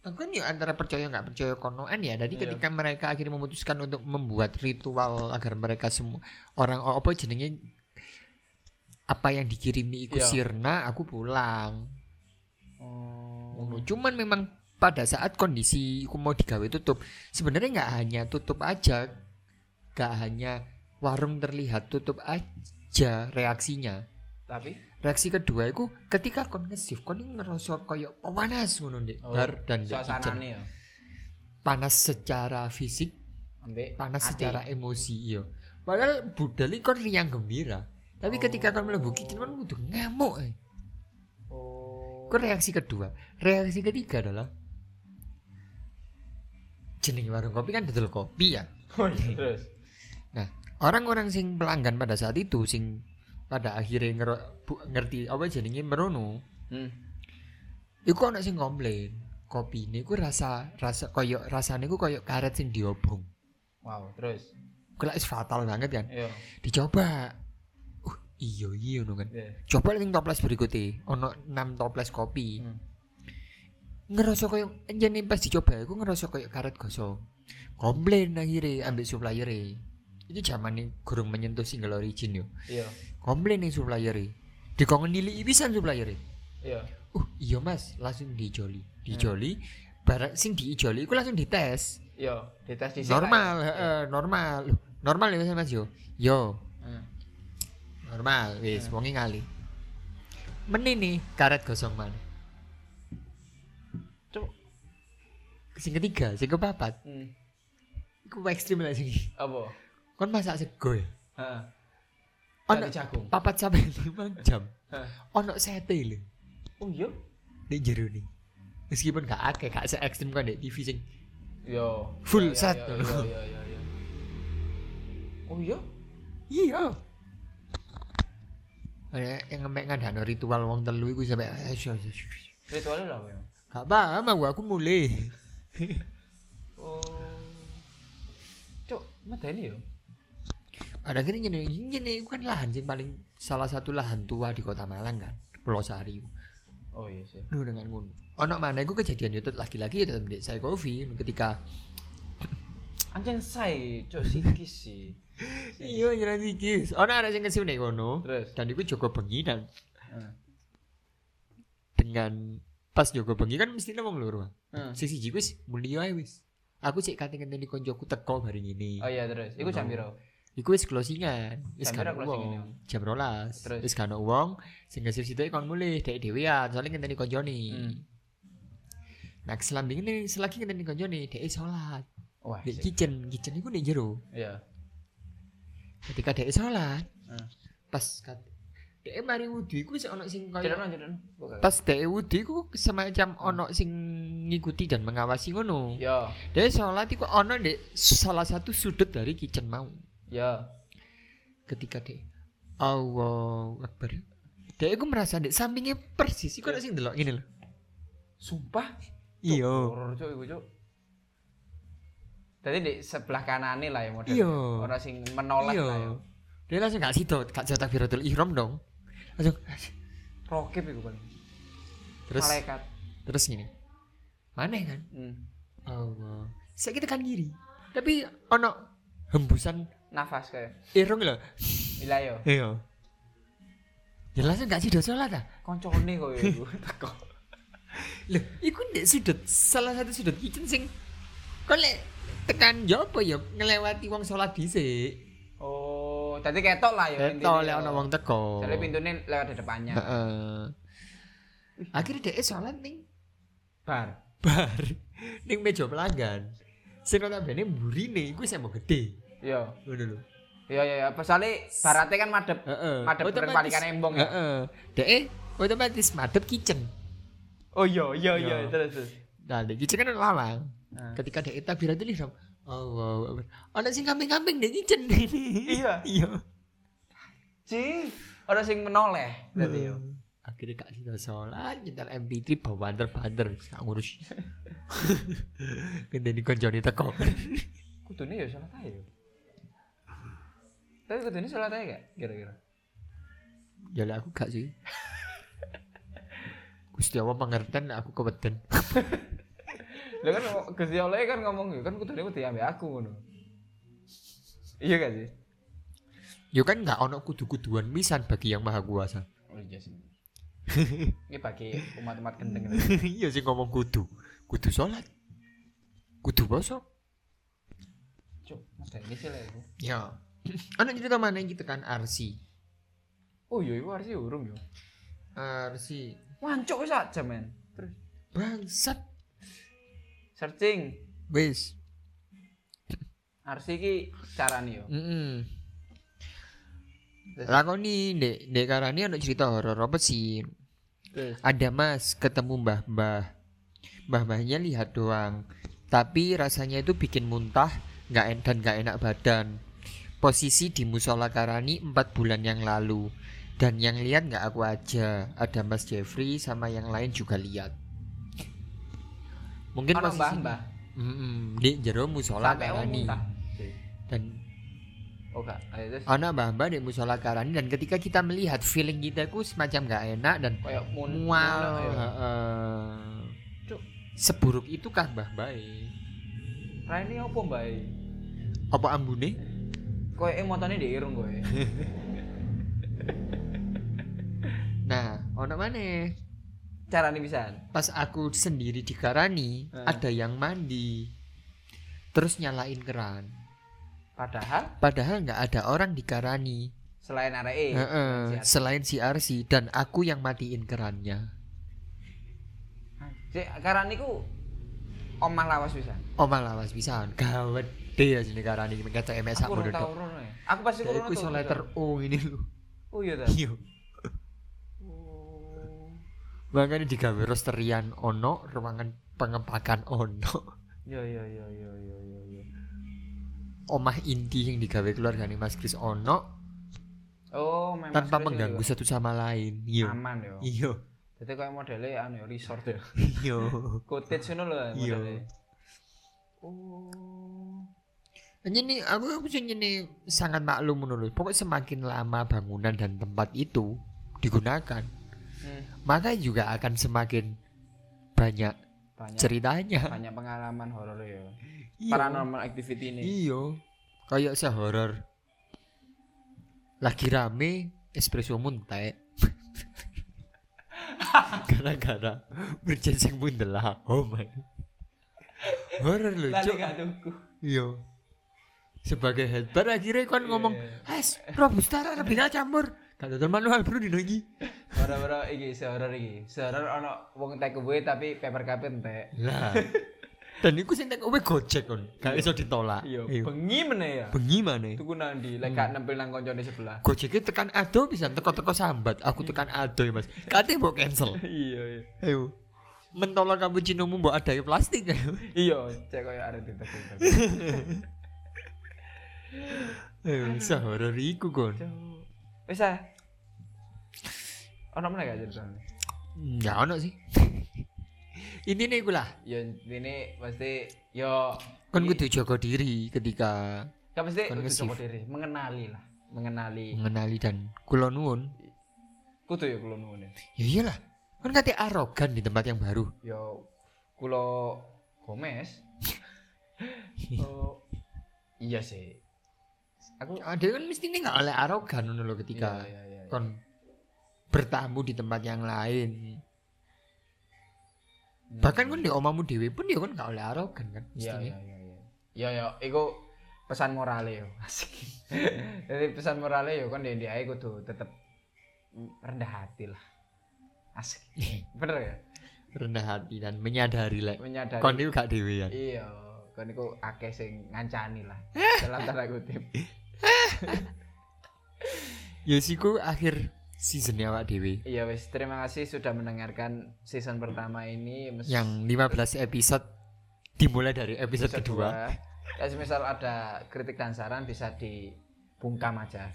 [SPEAKER 4] aku kan ya antara percaya nggak percaya konoan ya jadi
[SPEAKER 3] Iya.
[SPEAKER 4] ketika mereka akhirnya memutuskan untuk membuat ritual agar mereka semua orang oh, apa jenenge apa yang dikirimi ikut
[SPEAKER 3] Iya.
[SPEAKER 4] sirna aku pulang
[SPEAKER 3] Oh.
[SPEAKER 4] Ngono. cuman memang pada saat kondisi aku mau digawe tutup sebenarnya nggak hanya tutup aja nggak hanya warung terlihat tutup aja reaksinya
[SPEAKER 3] Tapi
[SPEAKER 4] reaksi kedua itu ketika kon nge-shift kon ini ngerasa koyo panas ngono Dik.
[SPEAKER 3] Oh,
[SPEAKER 4] Bar dan Dik Ijen.
[SPEAKER 3] suasanane ya.
[SPEAKER 4] panas secara fisik
[SPEAKER 3] Ambek
[SPEAKER 4] panas
[SPEAKER 3] ati.
[SPEAKER 4] secara emosi iya padahal budal ini kon riang gembira
[SPEAKER 3] Oh.
[SPEAKER 4] tapi ketika kon mlebu kitchen kon kudu ngamuk eh.
[SPEAKER 3] Oh.
[SPEAKER 4] Iku reaksi kedua reaksi ketiga adalah jeneng warung kopi kan betul kopi ya
[SPEAKER 3] Terus.
[SPEAKER 4] orang-orang sing pelanggan pada saat itu sing pada akhirnya ngero- bu- ngerti apa jenenge merono
[SPEAKER 3] Hmm.
[SPEAKER 4] Iku ana sing komplain, kopine iku rasa rasa koyo rasane iku koyo karet sing diobong.
[SPEAKER 3] Wow, terus.
[SPEAKER 4] Iku lak wis fatal banget kan.
[SPEAKER 3] Iya.
[SPEAKER 4] Dicoba. Uh, iya iya ngono kan.
[SPEAKER 3] Iya.
[SPEAKER 4] Coba link toples berikutnya, ono 6 toples kopi.
[SPEAKER 3] Hmm.
[SPEAKER 4] Ngerasa koyo enjene pas dicoba iku ngerasa koyo karet gosong. Komplain akhirnya ambil supplier Itu zaman nih gurung menyentuh single origin yo.
[SPEAKER 3] Iya.
[SPEAKER 4] Komplain nih supplier Dikongeni nili pisan supplier
[SPEAKER 3] Iya.
[SPEAKER 4] uh iya mas langsung dijoli
[SPEAKER 3] Hmm.
[SPEAKER 4] dijoli barang sing diijoli iku langsung dites
[SPEAKER 3] Iya, dites di Iya.
[SPEAKER 4] ya, normal heeh, normal Loh, normal ya mas mas yo yo
[SPEAKER 3] Hmm.
[SPEAKER 4] normal wis wonge ngali meni nih karet gosong mana
[SPEAKER 3] Cuk.
[SPEAKER 4] sing ketiga sing keempat
[SPEAKER 3] Hmm.
[SPEAKER 4] iku ekstrim lah sing
[SPEAKER 3] Apa?
[SPEAKER 4] kon masak sego ya
[SPEAKER 3] Heeh.
[SPEAKER 4] Ono-
[SPEAKER 3] Dari jagung.
[SPEAKER 4] papat sampai lima jam
[SPEAKER 3] Hah.
[SPEAKER 4] ono sete lho
[SPEAKER 3] Oh iya.
[SPEAKER 4] di jero nih meskipun gak akeh gak se ekstrim kan di TV sing
[SPEAKER 3] Yo.
[SPEAKER 4] Full
[SPEAKER 3] Yo, yo,
[SPEAKER 4] set.
[SPEAKER 3] yo, yo, yo, yo, yo. Oh iya.
[SPEAKER 4] iya Ada yang ngemek ngandano ritual wong telu iku sampe asyik, asyik, asyik.
[SPEAKER 3] Ritualnya lah apa ya?
[SPEAKER 4] gak paham aku aku mulai
[SPEAKER 3] Oh. Cuk, medeni yo.
[SPEAKER 4] ada gini gini gini iku kan lahan sing paling salah satu lahan tua di kota Malang kan Pulau Sari
[SPEAKER 3] Oh iya sih.
[SPEAKER 4] Duh dengan ngono ono mana iku kejadian itu lagi-lagi ya tetep ndek saya kopi ketika
[SPEAKER 3] Anjing say, cuk sikis sih.
[SPEAKER 4] iya nyeran sikis ono ada sing kesini kono
[SPEAKER 3] Terus.
[SPEAKER 4] dan iku Joko Bengi dan
[SPEAKER 3] Heeh.
[SPEAKER 4] dengan pas Joko Bengi kan mesti wong loro
[SPEAKER 3] Heeh.
[SPEAKER 4] sing siji wis mulya ae wis aku cek kate ngenteni koncoku teko bareng ini
[SPEAKER 3] Oh iya terus. Iku jam piro?
[SPEAKER 4] iku wis closingan wis
[SPEAKER 3] Jam pira
[SPEAKER 4] gak ono
[SPEAKER 3] closingane,
[SPEAKER 4] wong jam rolas
[SPEAKER 3] Terus?
[SPEAKER 4] wis gak ono wong sing ngesip sithik kon mulih dek dhewean soalnya ngenteni koncone
[SPEAKER 3] Hmm.
[SPEAKER 4] nah selambing ini selagi ngenteni koncone dek salat
[SPEAKER 3] Wah.
[SPEAKER 4] dek
[SPEAKER 3] sih.
[SPEAKER 4] kitchen kitchen iku nek jero
[SPEAKER 3] Iya.
[SPEAKER 4] ketika dek salat
[SPEAKER 3] Hmm.
[SPEAKER 4] pas kat dek mari wudu iku wis ono sing kaya
[SPEAKER 3] Cerono cerono. Buka.
[SPEAKER 4] pas dek wudu iku semacam
[SPEAKER 3] Hmm.
[SPEAKER 4] ono sing ngikuti dan mengawasi ngono
[SPEAKER 3] Yo.
[SPEAKER 4] Dia sholat itu ono di salah satu sudut dari kitchen mau
[SPEAKER 3] Yo.
[SPEAKER 4] ketika dia Allah Akbar dia itu merasa di sampingnya persis itu ada sing delok gini loh
[SPEAKER 3] Sumpah.
[SPEAKER 4] iya
[SPEAKER 3] Horor cuk iku cuk. Jadi di sebelah kanane lah ya model.
[SPEAKER 4] Iya.
[SPEAKER 3] Orang sing menoleh
[SPEAKER 4] iya
[SPEAKER 3] lah ya.
[SPEAKER 4] dia langsung gak sido gak jatah biratul ihram dong langsung
[SPEAKER 3] Rokib iku paling.
[SPEAKER 4] terus
[SPEAKER 3] Malaikat.
[SPEAKER 4] terus gini mana kan
[SPEAKER 3] Hmm.
[SPEAKER 4] Allah saya kita kan kiri tapi ono hembusan
[SPEAKER 3] Nafas kayak.
[SPEAKER 4] irung loh
[SPEAKER 3] Ila yo.
[SPEAKER 4] iya dia langsung gak sido sholat ah
[SPEAKER 3] Koncone kok ya iku. Teko.
[SPEAKER 4] Loh, iku ndek sudut salah satu sudut kitchen sing kok lek tekan yo apa ya ngelewati wong salat dhisik.
[SPEAKER 3] Oh, tadi ketok lah ya.
[SPEAKER 4] Eto Eh, lek ana wong teko.
[SPEAKER 3] Jadi pintunya lewat di depannya.
[SPEAKER 4] Heeh. Akhirnya dhek salat ning
[SPEAKER 3] Bar.
[SPEAKER 4] bar, ning meja pelanggan. Sing notabene mburine iku sing mau gede.
[SPEAKER 3] Yo.
[SPEAKER 4] Ngono lho.
[SPEAKER 3] Yo yo yo. Pasale barate iya. kan madep.
[SPEAKER 4] Heeh.
[SPEAKER 3] Madep bareng palikan embong ya.
[SPEAKER 4] Heeh. Dhek eh, otomatis madep kitchen.
[SPEAKER 3] Oh iya iya iya
[SPEAKER 4] Yo.
[SPEAKER 3] terus terus.
[SPEAKER 4] Nah, dhek kitchen kan lawang.
[SPEAKER 3] Nah.
[SPEAKER 4] Ketika dhek tabiratul ihram. Allah, Akbar. ana sing kambing-kambing ndek kitchen ini.
[SPEAKER 3] Iya.
[SPEAKER 4] Iya.
[SPEAKER 3] Ci, orang sing menoleh
[SPEAKER 4] Iya.
[SPEAKER 3] tadi yo.
[SPEAKER 4] akhirnya kak Sina sholat nyetel MP3 bawa banter-banter gak ngurus gede di konjoni teko
[SPEAKER 3] Kudune ya yo salat ae yo. Tapi kudune salat ae gak kira-kira?
[SPEAKER 4] ya lah aku gak sih Gusti Allah pengertian nah aku keweden
[SPEAKER 3] Lah kan ngomong- Gusti Allah kan ngomong yo kan kudune kudu ambek aku ngono. Iya gak sih?
[SPEAKER 4] ya kan gak ono kudu-kuduan misan bagi yang maha kuasa
[SPEAKER 3] Oh iya sih. Ini bagi umat-umat gendeng.
[SPEAKER 4] iya sih ngomong kudu kudu sholat kudu poso
[SPEAKER 3] Cuk, ada ini sih lah iku.
[SPEAKER 4] ya anak cerita mana yang kita kan arsi
[SPEAKER 3] Oh iya iku harusnya urung yo.
[SPEAKER 4] arsi
[SPEAKER 3] Wancuk wis aja men. Terus
[SPEAKER 4] bangsat
[SPEAKER 3] searching
[SPEAKER 4] wes
[SPEAKER 3] Arsi iki carane yo.
[SPEAKER 4] Mm Lakoni dek dek karani ada cerita horor apa sih?
[SPEAKER 3] Terus
[SPEAKER 4] Ada mas ketemu mbah mbah mbah mbahnya lihat doang, tapi rasanya itu bikin muntah, nggak en dan nggak enak badan. Posisi di musola karani empat bulan yang lalu dan yang lihat nggak aku aja, ada mas Jeffrey sama yang lain juga lihat. Mungkin
[SPEAKER 3] ono
[SPEAKER 4] posisi-
[SPEAKER 3] mbah-mbah
[SPEAKER 4] Mm-mm, di jero musola
[SPEAKER 3] sampai wong
[SPEAKER 4] karani
[SPEAKER 3] muntah.
[SPEAKER 4] dan
[SPEAKER 3] Oh gak. Ayo terus
[SPEAKER 4] anak mbah-mbah di musola karani dan ketika kita melihat feeling kita ku semacam nggak enak dan
[SPEAKER 3] koyo mun
[SPEAKER 4] mual
[SPEAKER 3] ngono yo.
[SPEAKER 4] heeh.
[SPEAKER 3] ya. Cuk.
[SPEAKER 4] seburuk itu kah mbah-mbah e?
[SPEAKER 3] Raine opo mbae?
[SPEAKER 4] apa ambune
[SPEAKER 3] Koyo emotone di irung kowe.
[SPEAKER 4] nah ono mana
[SPEAKER 3] Carane pisan.
[SPEAKER 4] pas aku sendiri di karani
[SPEAKER 3] Eh.
[SPEAKER 4] ada yang mandi terus nyalain keran
[SPEAKER 3] Padahal
[SPEAKER 4] padahal nggak ada orang di karani
[SPEAKER 3] selain RE
[SPEAKER 4] Heeh,
[SPEAKER 3] si
[SPEAKER 4] selain CRC dan aku yang matiin kerannya.
[SPEAKER 3] karena niku omah lawas bisa
[SPEAKER 4] Oma lawas pisan. Gawede ya sini karani kata MS sak
[SPEAKER 3] aku ora tau
[SPEAKER 4] modok.
[SPEAKER 3] rono ya aku pasti
[SPEAKER 4] Ya
[SPEAKER 3] rono
[SPEAKER 4] iku iso
[SPEAKER 3] tuh,
[SPEAKER 4] letter O ini lho.
[SPEAKER 3] oh iya ta
[SPEAKER 4] Iya. Makanya digawe rosterian ono, ruangan pengepakan ono.
[SPEAKER 3] yo yo yo yo yo yo yo
[SPEAKER 4] Omah inti yang digawe keluargane Mas Kris ono
[SPEAKER 3] oh memang
[SPEAKER 4] tanpa
[SPEAKER 3] serius
[SPEAKER 4] mengganggu
[SPEAKER 3] juga.
[SPEAKER 4] satu sama lain. Iya.
[SPEAKER 3] aman yo
[SPEAKER 4] Iya.
[SPEAKER 3] jadi kayak modelnya anu ya, resort ya
[SPEAKER 4] Iya.
[SPEAKER 3] cottage ngono lho ya,
[SPEAKER 4] Iya.
[SPEAKER 3] modelnya oh
[SPEAKER 4] Ini aku maksudnya ini sangat maklum menurut. Pokok semakin lama bangunan dan tempat itu digunakan,
[SPEAKER 3] hmm,
[SPEAKER 4] maka juga akan semakin banyak
[SPEAKER 3] banyak
[SPEAKER 4] ceritanya.
[SPEAKER 3] banyak pengalaman horor ya
[SPEAKER 4] Iya.
[SPEAKER 3] paranormal activity ini
[SPEAKER 4] Iya, kayak sehoror. Lagi rame espresso muntai. Gara-gara berjenseng mundelah. Oh my. Horor lho,
[SPEAKER 3] Lali
[SPEAKER 4] Cuk.
[SPEAKER 3] gak tuku.
[SPEAKER 4] Iya. Sebagai headbar akhirnya kan ngomong,
[SPEAKER 3] Iya.
[SPEAKER 4] "Es, robusta ora bina campur." Kata teman manual bro dino iki.
[SPEAKER 3] Ora-ora iki sehoror iki. Sehoror ana wong tek kuwe tapi paper cup entek.
[SPEAKER 4] Lah. Dan iku sing tak kowe gojek kon. Gak iso ditolak.
[SPEAKER 3] Iya,
[SPEAKER 4] Iya.
[SPEAKER 3] bengi meneh ya.
[SPEAKER 4] Bengi maneh.
[SPEAKER 3] Tuku nang ndi? Lek gak nempel nang koncone sebelah.
[SPEAKER 4] Gojeknya tekan ado bisa teko-teko sambat. Aku tekan ado ya mas. Katanya mau cancel.
[SPEAKER 3] Iya, iya.
[SPEAKER 4] Ayo. Mentolong cappuccinomu mbok ada plastik. ayo.
[SPEAKER 3] Iya, cek koyo arep ditek.
[SPEAKER 4] Ayo, sehoror iku kon.
[SPEAKER 3] Wis ah. Ono meneh gak ceritane?
[SPEAKER 4] Enggak ono sih. Ini nih gue lah.
[SPEAKER 3] Ya intine pasti yo
[SPEAKER 4] Kon
[SPEAKER 3] iki-
[SPEAKER 4] kudu jaga diri ketika
[SPEAKER 3] gak mesti
[SPEAKER 4] kon
[SPEAKER 3] kudu
[SPEAKER 4] ngesif.
[SPEAKER 3] jaga diri, mengenali lah, mengenali.
[SPEAKER 4] mengenali dan kulon nuwun.
[SPEAKER 3] Kudu ya kula nuwun. ya.
[SPEAKER 4] Ya iyalah. Kon kate arogan di tempat yang baru.
[SPEAKER 3] Yo kula Gomez. oh, iya sih. Aku
[SPEAKER 4] Ada kan mesti nih nggak oleh arogan ngono lho ketika
[SPEAKER 3] Iya, iya, iya, iya.
[SPEAKER 4] kon bertamu di tempat yang lain.
[SPEAKER 3] Hmm.
[SPEAKER 4] Bahkan kan di omamu dewe pun ya kan gak oleh arogan kan
[SPEAKER 3] Iya,
[SPEAKER 4] mestinya.
[SPEAKER 3] iya, iya, iya. Iya, iya, iku pesan morale yo. Asik. Jadi pesan morale yo kan dhewe ae kudu tetep rendah hati lah. Asik. Bener ya?
[SPEAKER 4] Rendah hati dan menyadari lek
[SPEAKER 3] Menyadari.
[SPEAKER 4] kon iku gak ya. dewean.
[SPEAKER 3] Iya, kon iku akeh sing ngancani lah. Dalam tanda kutip.
[SPEAKER 4] Ya siku akhir season awak dewe.
[SPEAKER 3] Iya wes, terima kasih sudah mendengarkan season pertama ini. Mes-
[SPEAKER 4] Yang 15 episode dimulai dari episode,
[SPEAKER 3] episode
[SPEAKER 4] kedua.
[SPEAKER 3] dua. Ya, semisal ada kritik dan saran bisa dibungkam aja.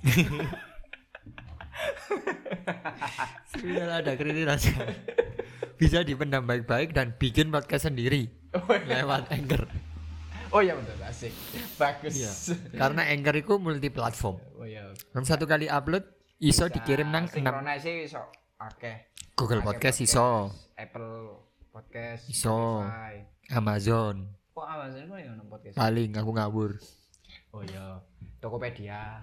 [SPEAKER 4] Sudah ada kritik dan saran. Bisa dipendam baik-baik dan bikin podcast sendiri lewat Anchor.
[SPEAKER 3] iya, oh iya betul, asik. Bagus.
[SPEAKER 4] Iya. Karena Anchor itu multi platform.
[SPEAKER 3] Oh iya.
[SPEAKER 4] Kan satu kali upload iso dikirim nang 6
[SPEAKER 3] Synchronize Nah, iso. Oke.
[SPEAKER 4] Google
[SPEAKER 3] Pakai
[SPEAKER 4] Podcast iso,
[SPEAKER 3] Apple Podcast
[SPEAKER 4] Iso.
[SPEAKER 3] Spotify.
[SPEAKER 4] Amazon,
[SPEAKER 3] Kok awalnya kok yang nang podcast?
[SPEAKER 4] paling aku ngawur.
[SPEAKER 3] Oh iya. Tokopedia.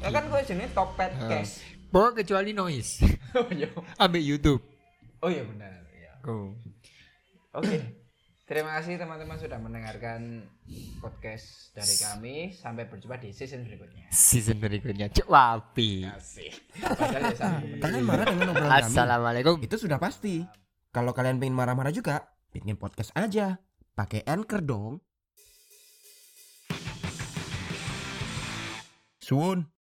[SPEAKER 3] ya kan gue jenis Tokped
[SPEAKER 4] Ah.
[SPEAKER 3] Cash.
[SPEAKER 4] Pokoknya kecuali noise.
[SPEAKER 3] oh iya.
[SPEAKER 4] Ambil YouTube.
[SPEAKER 3] Oh iya benar. Iya.
[SPEAKER 4] Oh.
[SPEAKER 3] Oke. Terima kasih teman-teman sudah mendengarkan podcast dari kami. Sampai berjumpa di season berikutnya.
[SPEAKER 4] Season berikutnya cek wapi.
[SPEAKER 3] Asik. Padahal ya sambil.
[SPEAKER 2] Iya, Kalian marah dengan obrolan kami?
[SPEAKER 4] Assalamualaikum.
[SPEAKER 2] Itu sudah pasti. Kalau kalian pengen marah-marah juga, bikin podcast aja. Pakai Anchor dong. Suun.